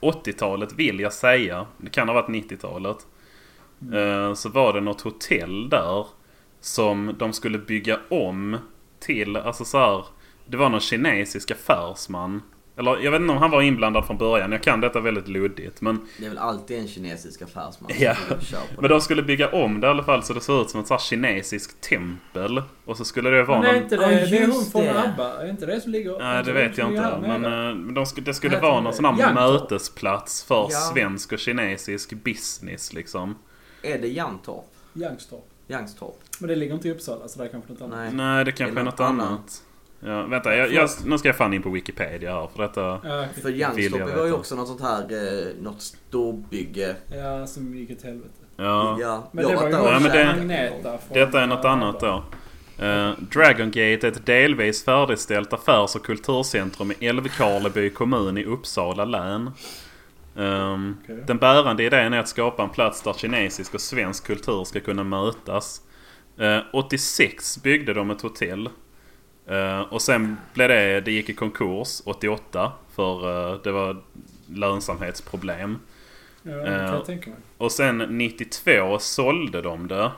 Speaker 2: 80-talet vill jag säga. Det kan ha varit 90-talet. Eh, Så var det något hotell där. Som de skulle bygga om till, alltså så här. Det var någon kinesisk affärsman. Eller jag vet inte om han var inblandad från början. Jag kan detta väldigt luddigt. Men
Speaker 1: Det är väl alltid en kinesisk affärsman
Speaker 2: Ja.
Speaker 1: som kör på
Speaker 2: Men
Speaker 1: det.
Speaker 2: de skulle bygga om det i alla fall så det såg ut som ett så här kinesiskt tempel. Och så skulle det vara
Speaker 3: Men det är
Speaker 2: någon...
Speaker 3: inte
Speaker 1: Ja,
Speaker 3: det, det är hon
Speaker 1: just
Speaker 3: från
Speaker 1: det.
Speaker 3: ABBA. Är inte det som ligger...
Speaker 2: Nej, det vet jag
Speaker 3: som ligger
Speaker 2: inte.
Speaker 3: här
Speaker 2: Men
Speaker 3: nere?
Speaker 2: eh, men de sk- det skulle
Speaker 3: Vad
Speaker 2: vara
Speaker 3: heter
Speaker 2: någon
Speaker 3: det?
Speaker 2: sån här
Speaker 3: Yantorp.
Speaker 2: mötesplats för
Speaker 1: Ja.
Speaker 2: svensk och kinesisk business liksom.
Speaker 1: Är det Jantorp?
Speaker 2: eh,
Speaker 3: Youngstorp.
Speaker 1: Janstorp?
Speaker 3: Men det ligger inte i Uppsala så där är kanske något annat.
Speaker 1: Nej.
Speaker 2: Nej, det kanske
Speaker 1: Det
Speaker 2: är
Speaker 1: är
Speaker 2: något
Speaker 1: något
Speaker 2: annat. Ja, vänta, jag, jag, nu ska jag fan in på Wikipedia här för detta.
Speaker 3: Ja,
Speaker 1: För
Speaker 3: okej.
Speaker 2: Vill
Speaker 1: Janstorp
Speaker 2: jag
Speaker 1: var ju
Speaker 2: veta.
Speaker 1: också något sånt här, eh, något storbygge.
Speaker 3: ja, som gick åt helvete.
Speaker 2: Ja.
Speaker 1: Ja,
Speaker 3: Men det var ju
Speaker 1: där och
Speaker 2: Ja,
Speaker 3: någon
Speaker 2: men det-
Speaker 1: käkat.
Speaker 3: magneta från...
Speaker 2: Detta är något
Speaker 3: eh,
Speaker 2: annat då. Eh, Dragon Gate är ett delvis färdigställt affärs och kulturcentrum i Älvkarleby kommun i Uppsala län. Ehm,
Speaker 3: Okej.
Speaker 2: Den bärande idén är att skapa en plats där kinesisk och svensk kultur ska kunna mötas. Eh, 86 byggde de ett hotell. Eh, och sen blev det, det gick i konkurs 88 för eh, det var lönsamhetsproblem.
Speaker 3: Ja, det kan
Speaker 2: Eh,
Speaker 3: jag tänka mig.
Speaker 2: Och sen 92 sålde de det.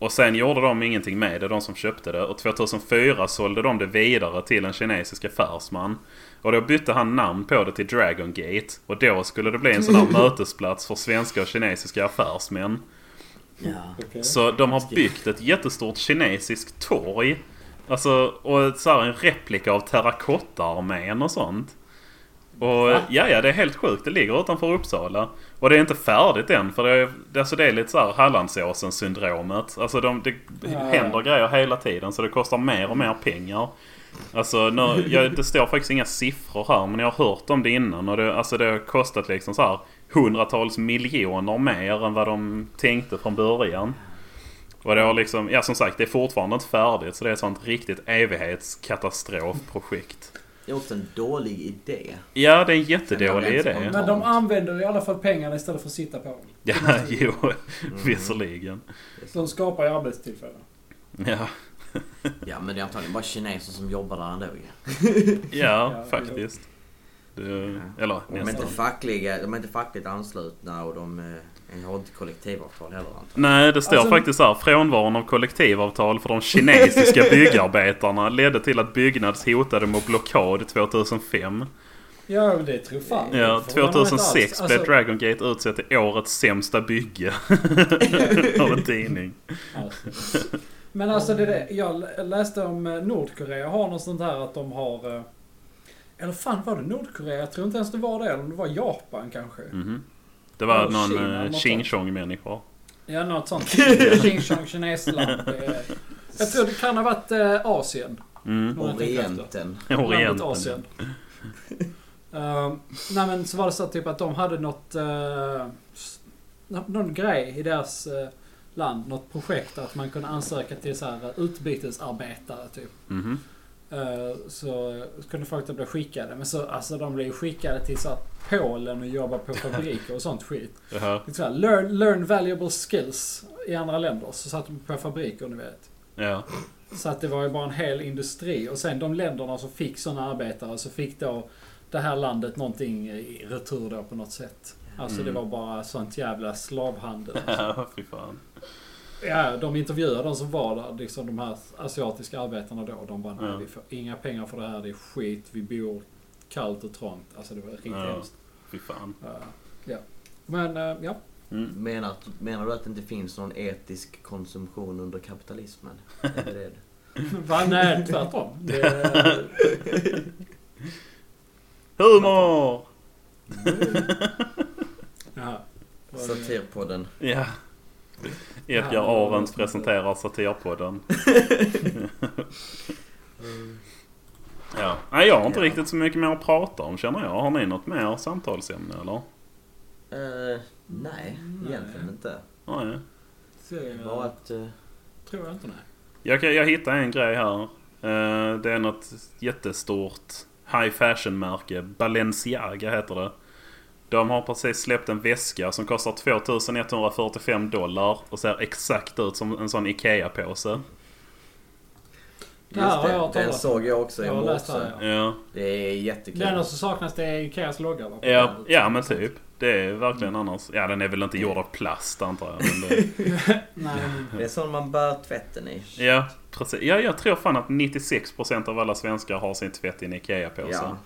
Speaker 2: Och sen gjorde de ingenting med det, de som köpte det. Och 2004 sålde de det vidare till en kinesisk affärsman. Och då bytte han namn på det till Dragon Gate. Och då skulle det bli en sån här mötesplats för svenska och kinesiska affärsmän.
Speaker 1: Ja.
Speaker 3: Okej.
Speaker 2: Så de har byggt ett jättestort kinesiskt torg. Alltså, och ett, så här, en replika av terrakottaarmén och sånt. Och ja, ja, det är helt sjukt. Det ligger utanför Uppsala. Och det är inte färdigt än för det är, det- alltså, det är lite så här Hallandsåsen-syndromet. Alltså de, det
Speaker 3: Ja.
Speaker 2: händer grejer hela tiden så det kostar mer och mer pengar. Alltså nu, jag, det står faktiskt inga siffror här men jag har hört om det innan och det, alltså, det har kostat liksom så här hundratals miljoner mer än vad de tänkte från början. Och det har liksom, ja som sagt det är fortfarande inte färdigt så det är ett sånt riktigt evighetskatastrofprojekt.
Speaker 1: Det är också en dålig idé.
Speaker 2: Ja, det är en jättedålig
Speaker 1: Men-
Speaker 2: idé.
Speaker 3: Men de använder i alla fall pengarna istället för att sitta på dem.
Speaker 2: Ja, jo,
Speaker 3: Mm.
Speaker 2: visserligen.
Speaker 3: De skapar ju arbetstillfällen.
Speaker 2: Ja,
Speaker 1: Ja men det är antagligen bara kineser som jobbar där ändå ju.
Speaker 2: ja faktiskt. Det, eller
Speaker 1: De är, inte
Speaker 2: nästan.
Speaker 1: fackliga, de är inte fackligt anslutna och de eh, har inte kollektivavtal heller antagligen.
Speaker 2: Nej, det står
Speaker 3: Alltså-
Speaker 2: faktiskt här. Frånvaron av kollektivavtal för de kinesiska byggarbetarna ledde till att Byggnads hotade med blockad 2005.
Speaker 3: Ja, men det tror fan.
Speaker 2: Ja,
Speaker 3: Det får man inte
Speaker 2: 2006
Speaker 3: alls.
Speaker 2: blev
Speaker 3: Alltså,
Speaker 2: Dragon Gate utsedd till årets sämsta bygge av en tidning.
Speaker 3: Alltså. Men alltså det är det. Jag lä- läste om eh, Nordkorea har något sånt här att de har... eh, Eller fan var det Nordkorea? Jag tror inte ens det var det. Eller om det var Japan kanske.
Speaker 2: Mhm. Det var
Speaker 3: Ja,
Speaker 2: någon eh,
Speaker 3: Kina, något
Speaker 2: Ching Chong människa.
Speaker 3: Ja, något sånt. Xing Chong, kinesland. Det är- eh. Jag tror det kan ha varit eh, Asien.
Speaker 2: Mm.
Speaker 3: om jag tänker efter.
Speaker 1: Orienten.
Speaker 3: Landet
Speaker 2: Orienten.
Speaker 3: Asien. uh, nej men så var det så typ att de hade något... eh, s- nå- någon grej i deras eh, land. Något projekt att man kunde ansöka till så här eh, utbytesarbetare typ.
Speaker 2: Mhm.
Speaker 3: Eh, så kunde folk då bli skickade. Men så, alltså de blev ju skickade till så här Polen och jobba på fabriker och sånt skit.
Speaker 2: Det här.
Speaker 3: Det är så här, learn, learn valuable skills i andra länder. Så satt de på fabriker, ni vet.
Speaker 2: Ja.
Speaker 3: Så att det var ju bara en hel industri. Och sen de länderna som fick sådana arbetare så fick då det här landet någonting i retur då på något sätt. Alltså det
Speaker 2: Mm.
Speaker 3: var bara sånt jävla slavhandel.
Speaker 2: ja, fy fan.
Speaker 3: Ja, de intervjuade de som var där, liksom de här asiatiska arbetarna då. De bara, nej
Speaker 2: Ja.
Speaker 3: vi får inga pengar för det här, det är skit, vi bor kallt och trångt. Alltså det var riktigt
Speaker 2: Ja.
Speaker 3: hemskt.
Speaker 2: Fy fan.
Speaker 3: Eh, ja. Men eh, ja,
Speaker 2: Mm.
Speaker 1: Menar, menar du att det inte finns någon etisk konsumtion under kapitalismen? Är det det?
Speaker 3: Va? nej tvärtom. Det, eh,
Speaker 2: Humor!
Speaker 3: Jaha. Var det-
Speaker 1: Satirpodden.
Speaker 2: Ja.
Speaker 3: Ja,
Speaker 2: Edgar
Speaker 3: det var
Speaker 2: Arendt
Speaker 3: det.
Speaker 2: presenterar Satirpodden.
Speaker 3: Mm.
Speaker 2: ja. Nej, jag har inte
Speaker 1: Ja.
Speaker 2: riktigt så mycket mer att prata om känner jag. Har ni något mer samtalsämne eller?
Speaker 1: Eh, nej, egentligen inte.
Speaker 2: Nej.
Speaker 3: det
Speaker 1: Bara att... eh,
Speaker 3: tror jag inte nej.
Speaker 2: Jag, kan- jag hittade en grej här. Eh, Det är något jättestort high fashion-märke. Balenciaga heter det. De har precis släppt en väska som kostar 2145 dollar och ser exakt ut som en sån IKEA-påse.
Speaker 3: Det här
Speaker 1: just
Speaker 3: har jag hört
Speaker 1: det, den
Speaker 3: talas om.
Speaker 1: såg jag också i
Speaker 3: Jag har läst det
Speaker 1: morse.
Speaker 3: här, ja.
Speaker 2: Ja.
Speaker 1: Det är jättekul.
Speaker 3: Det enda som saknas det är Ikeas logga va?
Speaker 2: Ja, ja men typ. Det är verkligen annars. Ja den är väl inte gjord av plast antar jag. Men det,
Speaker 3: Nej,
Speaker 1: Det är sån man bär tvätten i.
Speaker 2: ja, precis. Ja, jag tror fan att 96% av alla svenskar har sin tvätt i en IKEA-påse.
Speaker 1: Ja,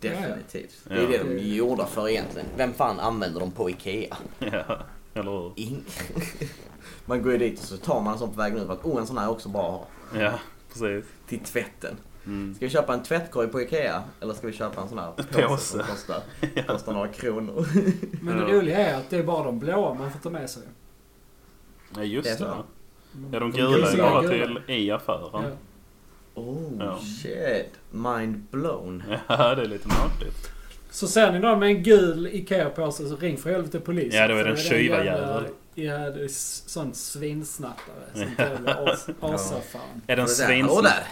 Speaker 1: definitivt. Det är
Speaker 2: Ja.
Speaker 1: det de är gjorda för egentligen. Vem fan använder dem på IKEA?
Speaker 2: Ja, Eller hur?
Speaker 1: Ingen. Man går ju dit och så tar man en sån på vägen ut för att oh en sån här är också bra att ha.
Speaker 2: Ja, precis.
Speaker 1: Till tvätten.
Speaker 2: Mm.
Speaker 1: Ska vi köpa en tvättkorg på IKEA? Eller ska vi köpa en sån här
Speaker 2: Påse.
Speaker 1: påse som kostar, kostar några kronor?
Speaker 3: Men det
Speaker 2: Ja.
Speaker 3: roliga är att det är bara de blåa man får ta med sig.
Speaker 2: Ja,
Speaker 1: Det är
Speaker 2: just det.
Speaker 1: så.
Speaker 2: Ja, de
Speaker 3: De
Speaker 2: gula är
Speaker 3: gula,
Speaker 2: bara
Speaker 3: gula.
Speaker 2: till i
Speaker 3: Ja.
Speaker 2: affären.
Speaker 1: Oh
Speaker 2: Ja.
Speaker 1: shit. Mind blown.
Speaker 2: Ja, det är lite märkligt.
Speaker 3: Så ser ni någon med en gul IKEA-påse så ring för helvete polisen.
Speaker 2: Ja, då är det en
Speaker 3: För
Speaker 2: tjuva
Speaker 3: jävla-
Speaker 2: jävel.
Speaker 3: Ja, det är s- sån svinsnattare. Sånt jävla as- asafan.
Speaker 2: Är det en,
Speaker 1: Och det där, Hallå
Speaker 2: svinsn-
Speaker 1: där!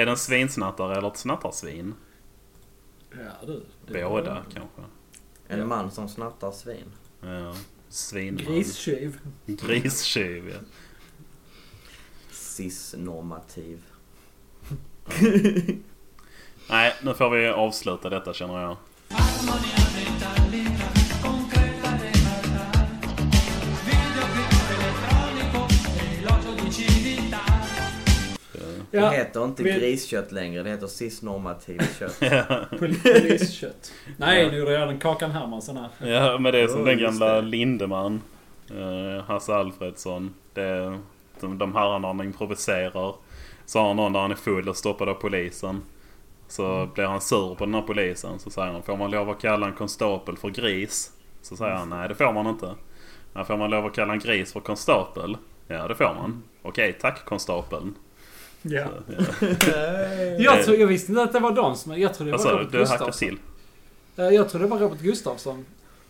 Speaker 2: är det en svinsnattare eller ett snattarsvin?
Speaker 3: Ja, du. Det-
Speaker 2: Båda kanske.
Speaker 1: En man som snattar svin.
Speaker 2: Ja. Svinman.
Speaker 3: Gristjuv.
Speaker 2: Gristjuv, ja.
Speaker 1: Cis-normativ.
Speaker 2: Nej, nu får vi avsluta detta känner jag.
Speaker 6: Armonía metálica concreta de verdad Videoclip elettronico e l'odio di civiltà
Speaker 1: Det
Speaker 3: Ja,
Speaker 1: heter inte
Speaker 3: vi-
Speaker 1: griskött längre, det heter cis-normativt kött.
Speaker 3: pol- poliskött. Nej, nu gjorde jag den Kakan Hermansson här.
Speaker 2: Ja, men det är som
Speaker 1: Ja,
Speaker 2: den
Speaker 1: just
Speaker 2: gamla
Speaker 1: det.
Speaker 2: Lindemann. eh, Hasse Alfredsson. Det är, de, de herrarna han improviserar. Så har någon där han är full och stoppad av polisen. Så
Speaker 3: Mm.
Speaker 2: blir han sur på den här polisen. Så säger han, får man lov att kalla en konstapel för gris? Så säger
Speaker 3: Mm.
Speaker 2: han, nej det får man inte. "Ja, får man lov att kalla en gris för konstapel? Ja det får man. Okej, tack konstapeln.
Speaker 3: Ja.
Speaker 2: Ja.
Speaker 3: Jag, tror, jag visste inte att det var de som... Jag trodde det
Speaker 2: Vad
Speaker 3: var
Speaker 2: sa Alltså, du?
Speaker 3: Robert
Speaker 2: Du hackar
Speaker 3: Gustafsson.
Speaker 2: till?
Speaker 3: Eh, Jag tror det var Robert Gustafsson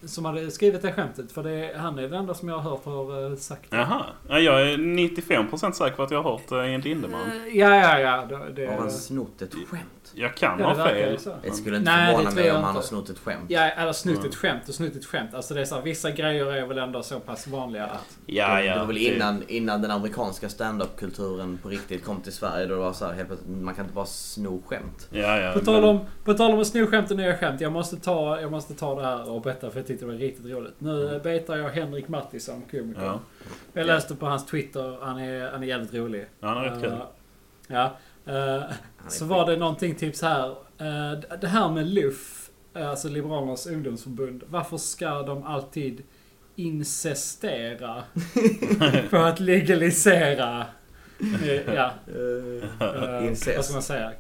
Speaker 3: som hade skrivit det skämtet. För det, han är den enda som jag har hört har eh, sagt det.
Speaker 2: Jaha. Ja, Jag är 95% säker på att jag har hört eh, en Lindemann.
Speaker 3: Eh, Ja, ja, ja. Det, det,
Speaker 1: Har han snott ett skämt?
Speaker 2: Jag kan
Speaker 3: ja,
Speaker 2: ha
Speaker 3: det verkar
Speaker 2: fel.
Speaker 3: ju så.
Speaker 1: Det skulle inte
Speaker 3: Nej, det
Speaker 1: förvåna
Speaker 3: tror
Speaker 1: mig
Speaker 3: jag
Speaker 1: om han har
Speaker 3: inte.
Speaker 1: snott ett skämt.
Speaker 3: Ja, eller snutt ett skämt och snutt ett skämt. Alltså det är så här, vissa grejer är väl ändå så pass vanliga att...
Speaker 2: Ja, ja. typ.
Speaker 1: det var väl
Speaker 2: det-
Speaker 1: innan, innan den amerikanska stand-up-kulturen på riktigt kom till Sverige då det var så här, helt plötsligt, man kan inte bara sno skämt.
Speaker 2: Ja, ja.
Speaker 3: På tal
Speaker 2: men-
Speaker 3: om, på tal om att sno skämt och nya skämt. Jag måste, ta, jag måste ta det här och berätta för jag tyckte det var riktigt roligt. Nu mm. betar jag Henrik Mattisson, komikern.
Speaker 2: Ja.
Speaker 3: Jag läste på hans Twitter. Han är, han är jävligt rolig.
Speaker 2: Ja, han är rätt kul.
Speaker 3: Eh, Ja. eh, så var det någonting typ så här. eh, d- det här med luff eh, alltså Liberalernas ungdomsförbund, varför ska de alltid insistera på att legalisera eh, ja, eh,
Speaker 1: Incest.
Speaker 3: vad ska man säga,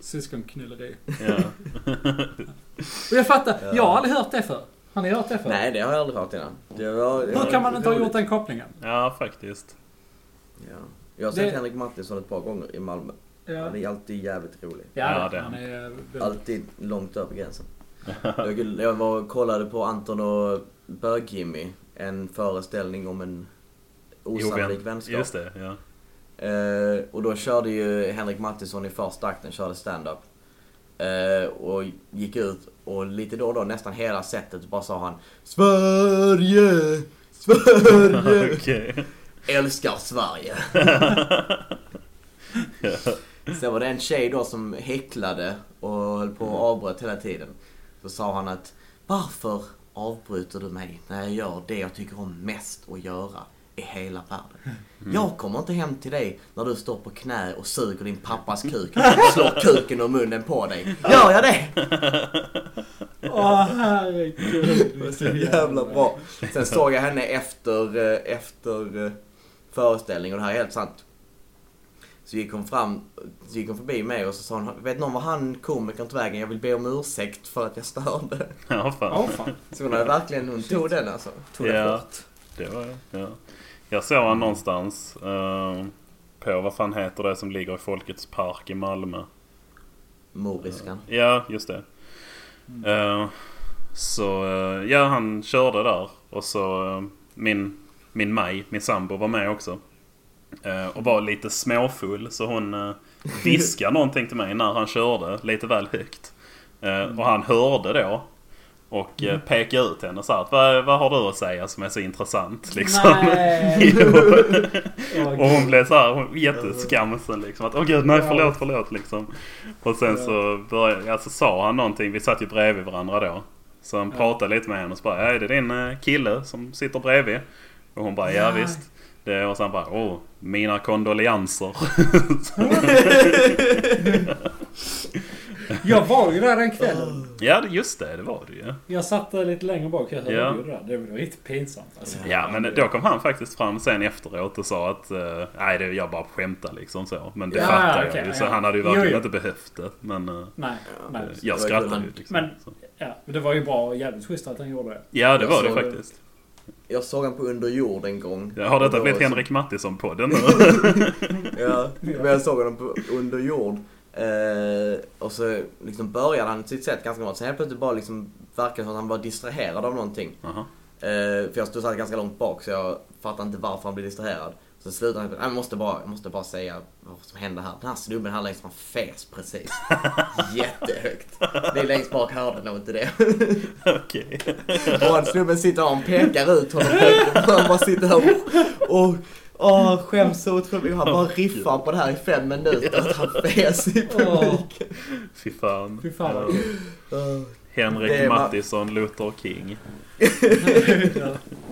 Speaker 3: syskonknulleri?
Speaker 2: Ja.
Speaker 3: Och jag fattar,
Speaker 1: Ja.
Speaker 3: jag har aldrig hört det för. Har ni hört det för?
Speaker 1: Nej, det har jag aldrig hört innan. Det var, det var
Speaker 3: Hur kan man inte ha
Speaker 1: roligt.
Speaker 3: gjort den kopplingen?
Speaker 2: ja, faktiskt.
Speaker 1: Ja. Jag har sett
Speaker 3: Det-
Speaker 1: Henrik Mattisson ett par gånger i Malmö.
Speaker 3: Ja,
Speaker 1: Han är alltid jävligt rolig.
Speaker 2: Ja,
Speaker 3: ja
Speaker 2: det-
Speaker 3: det. Han är väldigt-
Speaker 1: Alltid långt över gränsen. Jag, jag var och kollade på Anton och Bög-Jimmy. En föreställning om en osannolik
Speaker 2: Ovän-
Speaker 1: vänskap.
Speaker 2: Just det, ja.
Speaker 1: Eh, och då körde ju Henrik Mattisson i första akten, körde stand-up. Eh, och gick ut och lite då och då, nästan hela sättet, bara sa han Sverige! Sverige!
Speaker 2: Okej.
Speaker 1: Älskar Sverige! Sen var det en tjej då som häcklade och höll på och avbröt hela tiden. Så sa han att Varför avbryter du mig när jag gör det jag tycker om mest att göra i hela världen? Jag kommer inte hem till dig när du står på knä och suger din pappas kuk och slår kuken och munnen på dig. Gör jag det?
Speaker 3: Åh herregud.
Speaker 1: Det var så jävla bra. Sen såg jag henne efter, eh, efter eh, föreställning och det här är helt sant. Så gick hon fram, så gick hon förbi mig och så sa hon, vet någon var han komikern tog vägen? Jag vill be om ursäkt för att jag störde.
Speaker 2: Ja, fan.
Speaker 3: Åh fan.
Speaker 1: Så hon hade verkligen, hon tog den alltså. Tog den
Speaker 2: Ja.
Speaker 1: hårt.
Speaker 2: Det var jag. Ja. Jag såg han någonstans eh, på, vad fan heter det som ligger i Folkets Park i Malmö?
Speaker 1: Moriskan.
Speaker 2: Ja, just det. Eh, så eh, ja, han körde där och så eh, min, min Maj, min sambo, var med också. Eh, och var lite småfull så hon uh, viskade någonting till mig när han körde lite väl högt. Eh, och han hörde då och eh, pekade ut henne så här, vad, vad har du att säga som är så intressant liksom?
Speaker 3: Nej.
Speaker 2: Jo.
Speaker 3: Åh,
Speaker 2: Och hon blev så här hon- jätteskamsen liksom. Att åh gud, nej förlåt, förlåt liksom. Och sen så började, alltså, sa han någonting. Vi satt ju bredvid varandra då. Så han pratade lite med henne och så bara, är det din eh, kille som sitter bredvid? Och hon bara, ja,
Speaker 3: Ja.
Speaker 2: visst. Det, och sen bara, åh, mina kondolenser.
Speaker 3: Jag var ju där den kvällen.
Speaker 2: ja, det- just det, det var det ju.
Speaker 3: Jag satt där lite längre bak. Jag hörde
Speaker 2: Ja.
Speaker 3: ju det där. Det var riktigt pinsamt alltså.
Speaker 2: Ja, men då kom han faktiskt fram sen efteråt och sa att, eh, nej, det, jag bara skämtar liksom så. Men det
Speaker 3: Ja,
Speaker 2: fattar
Speaker 3: okej,
Speaker 2: jag ju. Så
Speaker 3: ja.
Speaker 2: han hade ju
Speaker 3: Jo,
Speaker 2: verkligen
Speaker 3: jo.
Speaker 2: inte behövt det. Men eh,
Speaker 3: Nej, nej.
Speaker 2: jag
Speaker 1: var
Speaker 2: skrattade
Speaker 1: kul.
Speaker 2: ju liksom.
Speaker 3: Men
Speaker 2: så.
Speaker 3: ja, men det var ju bra och jävligt schysst att han gjorde det.
Speaker 2: Ja, det
Speaker 1: Jag
Speaker 2: var det
Speaker 1: såg det.
Speaker 2: faktiskt.
Speaker 1: Jag såg han på Under jord en gång.
Speaker 2: Har
Speaker 1: Och
Speaker 2: detta
Speaker 1: då-
Speaker 2: blivit Henrik Mattisson-podden nu?
Speaker 1: Ja, men jag såg honom på under jord. Eh, och så liksom började han sitt sätt ganska bra. Sen helt plötsligt bara liksom verkade det som att han var distraherad av någonting.
Speaker 2: Jaha.
Speaker 1: Eh, för jag stod så här ganska långt bak så jag fattade inte varför han blev distraherad. Så slutade han med att jag måste bara, jag måste bara säga vad som hände här. Den här snubben här längst fram fes precis. Jättehögt. Ni längst bak hörde nog inte det.
Speaker 2: Okej.
Speaker 1: Och han snubben sitter och han pekar ut honom högt och han bara sitter här och, och åh, skäms så otroligt. Han bara riffar på det här i fem minuter att han fes i publiken.
Speaker 2: Fy fan.
Speaker 3: Fy fan vad
Speaker 2: Ja.
Speaker 3: kul.
Speaker 1: Åh. Det
Speaker 2: Henrik
Speaker 1: är ma-
Speaker 2: Mattisson, Luther King.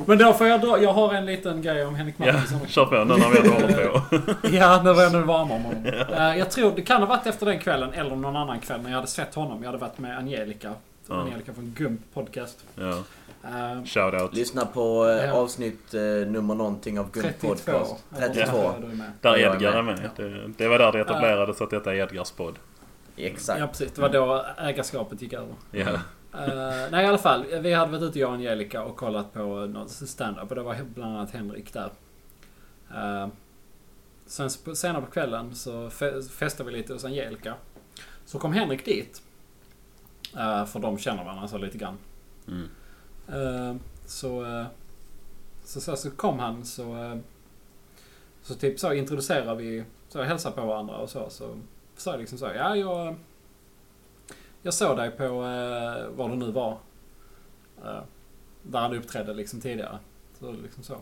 Speaker 3: Men då får jag dra. Jag har en liten grej om Henrik
Speaker 2: Ja,
Speaker 3: Mattisson.
Speaker 2: kör på nu när vi ändå håller på.
Speaker 3: Ja, nu var jag nu varm om honom. Eh, Jag tror det kan ha varit efter den kvällen eller någon annan kväll när jag hade sett honom. Jag hade varit med Angelica.
Speaker 2: Ja.
Speaker 3: Angelica från Gump Podcast.
Speaker 2: Ja.
Speaker 3: Eh,
Speaker 2: Shoutout.
Speaker 1: Lyssna på eh,
Speaker 3: Ja.
Speaker 1: avsnitt eh, nummer någonting av Guld
Speaker 3: 32.
Speaker 1: Podcast.
Speaker 3: Ja,
Speaker 1: 32.
Speaker 3: jag är med.
Speaker 2: Där
Speaker 1: Jag är
Speaker 2: Edgar är
Speaker 1: med.
Speaker 2: med. Det, det var där det etablerades att detta är Edgars podd.
Speaker 1: Exakt.
Speaker 3: Ja precis, det var då ägarskapet gick över.
Speaker 2: Ja.
Speaker 3: Eh, nej i alla fall, vi hade varit ute jag och Angelica och kollat på någon stand-up och det var bland annat Henrik där. Eh, sen sp- senare på kvällen så fe- festade vi lite hos Angelica. Så kom Henrik dit. Eh, för de känner varandra så lite grann.
Speaker 2: Mm.
Speaker 3: Eh, så, eh, så, så, så kom han så... eh, så typ så introducerar vi, så hälsar på varandra och så. Så sa jag liksom så, ja jag... Jag såg dig på, eh, var du nu var. Eh, där han uppträdde liksom tidigare. Så liksom så.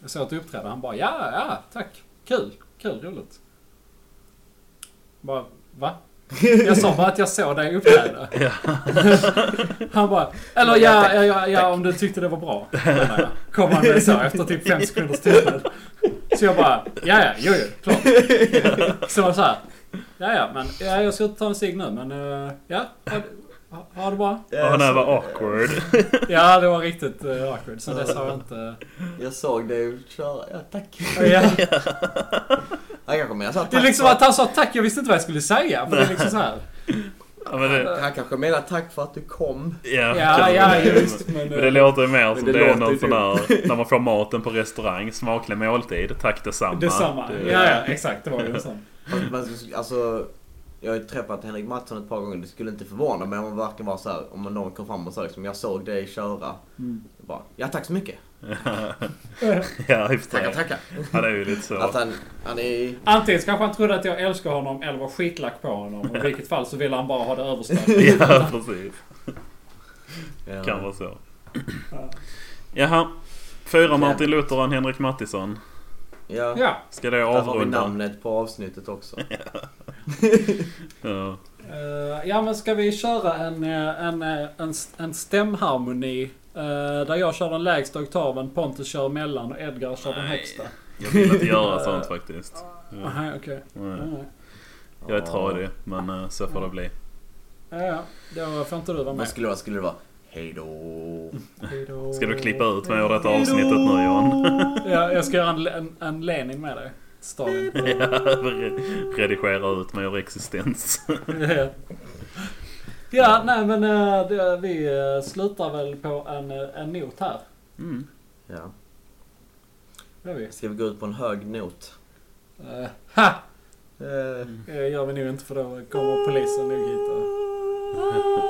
Speaker 3: Jag såg att du uppträdde, han bara ja, ja, tack. Kul, kul, roligt. Bara, va? Jag sa bara att jag såg dig uppträda. Han bara, eller ja, ja, ja, ja om du tyckte det var bra. menar jag. Kom han med så efter typ fem sekunders tystnad. Så jag bara, ja, ja, jo, jo, klart. Så var det så här, ja, ja, men ja, jag ska ta en cigg nu, men eh, ja. Har, Ha, ha det bra.
Speaker 2: Och han här var awkward.
Speaker 3: Ja, det var riktigt uh, awkward. Sen dess har jag inte...
Speaker 1: Jag såg dig köra. Ja, tack.
Speaker 3: Ja.
Speaker 1: Han kanske menar såhär,
Speaker 3: Det är
Speaker 1: tack,
Speaker 3: liksom
Speaker 1: för
Speaker 3: att han sa tack, jag visste inte vad jag skulle säga. För det är liksom så här.
Speaker 2: Ja, men det,
Speaker 1: att... han kanske menar tack för att du kom.
Speaker 2: ja,
Speaker 3: Ja,
Speaker 2: kan-
Speaker 3: ja, just. Men,
Speaker 2: Men det låter ju mer som
Speaker 1: det
Speaker 2: det, är
Speaker 1: låter
Speaker 2: någon
Speaker 1: ju typ-
Speaker 2: sån där när man får maten på restaurang. Smaklig måltid. Tack detsamma.
Speaker 3: Detsamma.
Speaker 2: Det-
Speaker 3: Ja, ja, exakt. Det var ju en sån.
Speaker 1: Fast man skulle- Alltså, jag har ju träffat Henrik Mattsson ett par gånger. Det skulle inte förvåna mig om man verkligen var så här, om någon kom fram och sa liksom, jag såg dig köra.
Speaker 3: Mm.
Speaker 1: Jag Bara, ja, tack så mycket.
Speaker 2: ja, i och för sig.
Speaker 1: Tackar, tackar.
Speaker 2: Ja, det är ju lite så.
Speaker 1: Att han, han är...
Speaker 3: Antingen kanske han trodde att jag älskar honom eller var skitlack på honom. I vilket fall så ville han bara ha det överstått.
Speaker 2: Ja, precis.
Speaker 1: Ja.
Speaker 2: Kan vara så.
Speaker 3: Ja.
Speaker 2: Jaha. Fyra Martin Luther och en Henrik Mattisson.
Speaker 1: Ja.
Speaker 3: Ja.
Speaker 2: Ska det
Speaker 1: Där har vi
Speaker 2: avrunda?
Speaker 1: namnet på avsnittet också.
Speaker 2: Ja.
Speaker 3: Eh, ja men ska vi köra en, eh, en, eh, en, st- en stämharmoni? eh, där jag kör den lägsta oktaven, Pontus kör mellan och Edgar kör den
Speaker 2: Nej.
Speaker 3: högsta.
Speaker 2: Jag vill inte göra sånt faktiskt. Ja.
Speaker 3: Nej, okej.
Speaker 2: Nej.
Speaker 3: Nej.
Speaker 2: Jag är tradig, men eh, så får det bli.
Speaker 3: Ja, ja. Då får inte du vara
Speaker 1: Vad
Speaker 3: med.
Speaker 1: skulle det vara? Skulle det vara hejdå?
Speaker 3: Hejdå.
Speaker 2: Ska du klippa ut mig ur detta avsnittet nu Johan?
Speaker 3: Ja, jag ska göra en, en, en Lenin med dig. Stalin.
Speaker 2: Ja, re- Redigera ut mig ur existens.
Speaker 3: ja, nej men eh, det, vi eh, slutar väl på en, eh, en not här.
Speaker 2: Mm.
Speaker 1: Ja.
Speaker 3: Gör vi.
Speaker 1: Ska vi gå ut på en hög not?
Speaker 3: Eh, ha!
Speaker 1: Eh,
Speaker 2: Mm.
Speaker 3: Eh, gör vi nog inte för då kommer polisen nog hit och...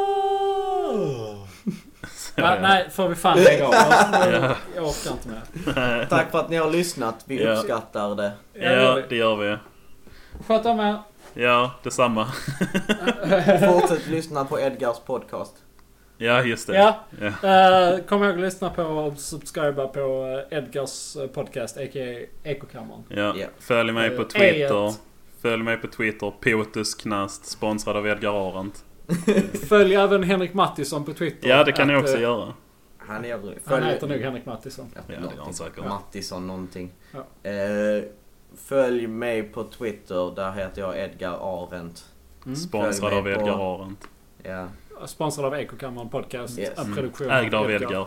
Speaker 2: Så,
Speaker 3: Ja,
Speaker 2: ja.
Speaker 3: nej, får vi fan lägga av. Jag- Jag orkar inte mer.
Speaker 1: tack för att ni har lyssnat. Vi
Speaker 2: Ja.
Speaker 1: uppskattar det.
Speaker 2: Ja, det gör vi.
Speaker 3: Sköt om er.
Speaker 2: Ja, detsamma.
Speaker 1: Fortsätt lyssna på Edgars podcast.
Speaker 2: Ja, just det.
Speaker 3: Ja.
Speaker 2: Ja.
Speaker 3: Eh, kom ihåg att lyssna på och subscriba på eh, Edgars eh, podcast, a.k.a. Ekokammaren.
Speaker 2: Ja.
Speaker 1: Ja.
Speaker 2: Följ mig på
Speaker 3: Eh,
Speaker 2: Twitter.
Speaker 3: ejet.
Speaker 2: Följ mig på Twitter. Potusknast, sponsrad av Edgar Arendt.
Speaker 3: Följ även Henrik Mattisson på Twitter.
Speaker 2: Ja, det kan ni
Speaker 3: Att,
Speaker 2: också
Speaker 3: eh,
Speaker 2: göra.
Speaker 1: Han är rolig.
Speaker 3: Han heter nog Henrik Mattisson.
Speaker 1: Ja,
Speaker 2: det gör
Speaker 1: någonting.
Speaker 2: han säkert.
Speaker 1: Mattisson någonting.
Speaker 3: Ja.
Speaker 1: Eh, följ mig på Twitter. Där heter jag Edgar Arendt.
Speaker 3: Mm.
Speaker 2: Sponsrad
Speaker 1: Följ
Speaker 2: av
Speaker 1: mig på-
Speaker 2: Edgar Arendt.
Speaker 1: Ja.
Speaker 3: Sponsrad av Ekokammaren Podcast.
Speaker 1: Yes.
Speaker 3: En produktion
Speaker 2: Mm. Ägd av Edgar.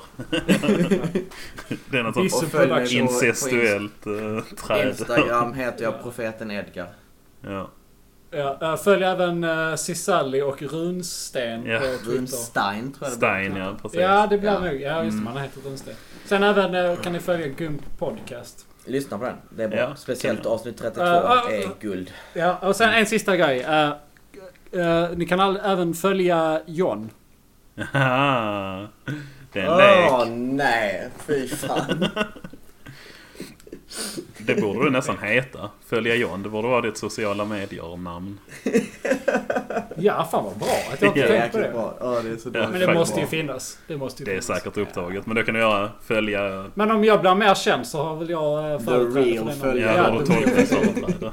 Speaker 2: det är något sånt
Speaker 3: Diss-
Speaker 1: Och följ mig på-
Speaker 2: incestuellt eh,
Speaker 1: på Inst-
Speaker 2: träd.
Speaker 1: Instagram heter jag profeten Edgar.
Speaker 2: Ja.
Speaker 3: Ja, eh, följ även eh, Cisalli och Runsten
Speaker 2: Ja.
Speaker 3: på Twitter.
Speaker 1: Runstein tror jag det
Speaker 2: Stein, ja precis.
Speaker 3: Ja, det blir
Speaker 1: Ja.
Speaker 3: nog. Ja, just det.
Speaker 2: Mm.
Speaker 3: Man har hetat Runsten. Sen även eh, kan ni följa Gump Podcast.
Speaker 1: blir. Lyssna på den. Det är bra.
Speaker 2: Ja.
Speaker 1: Speciellt avsnitt 32
Speaker 3: Eh, ah, ah.
Speaker 1: är guld.
Speaker 3: Ja, och sen en sista grej. Eh, eh, ni kan all, även följa John.
Speaker 2: Haha. det är en
Speaker 1: Åh
Speaker 2: lek.
Speaker 1: nej, fy fan.
Speaker 2: Det borde du nästan heta. Följa John, det borde vara ditt sociala medier-namn.
Speaker 3: Ja, fan vad bra att jag inte
Speaker 2: Ja,
Speaker 3: tänkte på det.
Speaker 1: bra. Ja, det är så
Speaker 2: Ja,
Speaker 3: Men det
Speaker 2: Fan,
Speaker 3: måste ju
Speaker 2: bra.
Speaker 3: finnas. Det måste ju
Speaker 2: Det är
Speaker 3: finnas.
Speaker 2: säkert upptaget, men då kan du göra följa...
Speaker 3: Men om jag blir mer känd så har väl jag eh, företräde för
Speaker 1: real
Speaker 3: den.
Speaker 1: följer-
Speaker 2: Ja, då har du
Speaker 3: the real.
Speaker 2: tolkningsföreträde.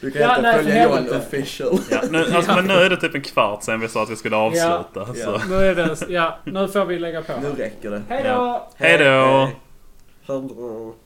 Speaker 1: Du kan
Speaker 3: Ja,
Speaker 1: heta
Speaker 3: nej, för
Speaker 1: Följa Johan
Speaker 3: helvete.
Speaker 1: official.
Speaker 2: Ja, nu, alltså, men nu är det typ en kvart sen vi sa att vi skulle avsluta. Så.
Speaker 3: Nu är det... Ja, nu får vi lägga på.
Speaker 1: Nu räcker det.
Speaker 3: Hej då!
Speaker 2: Hej då!
Speaker 1: Hej då.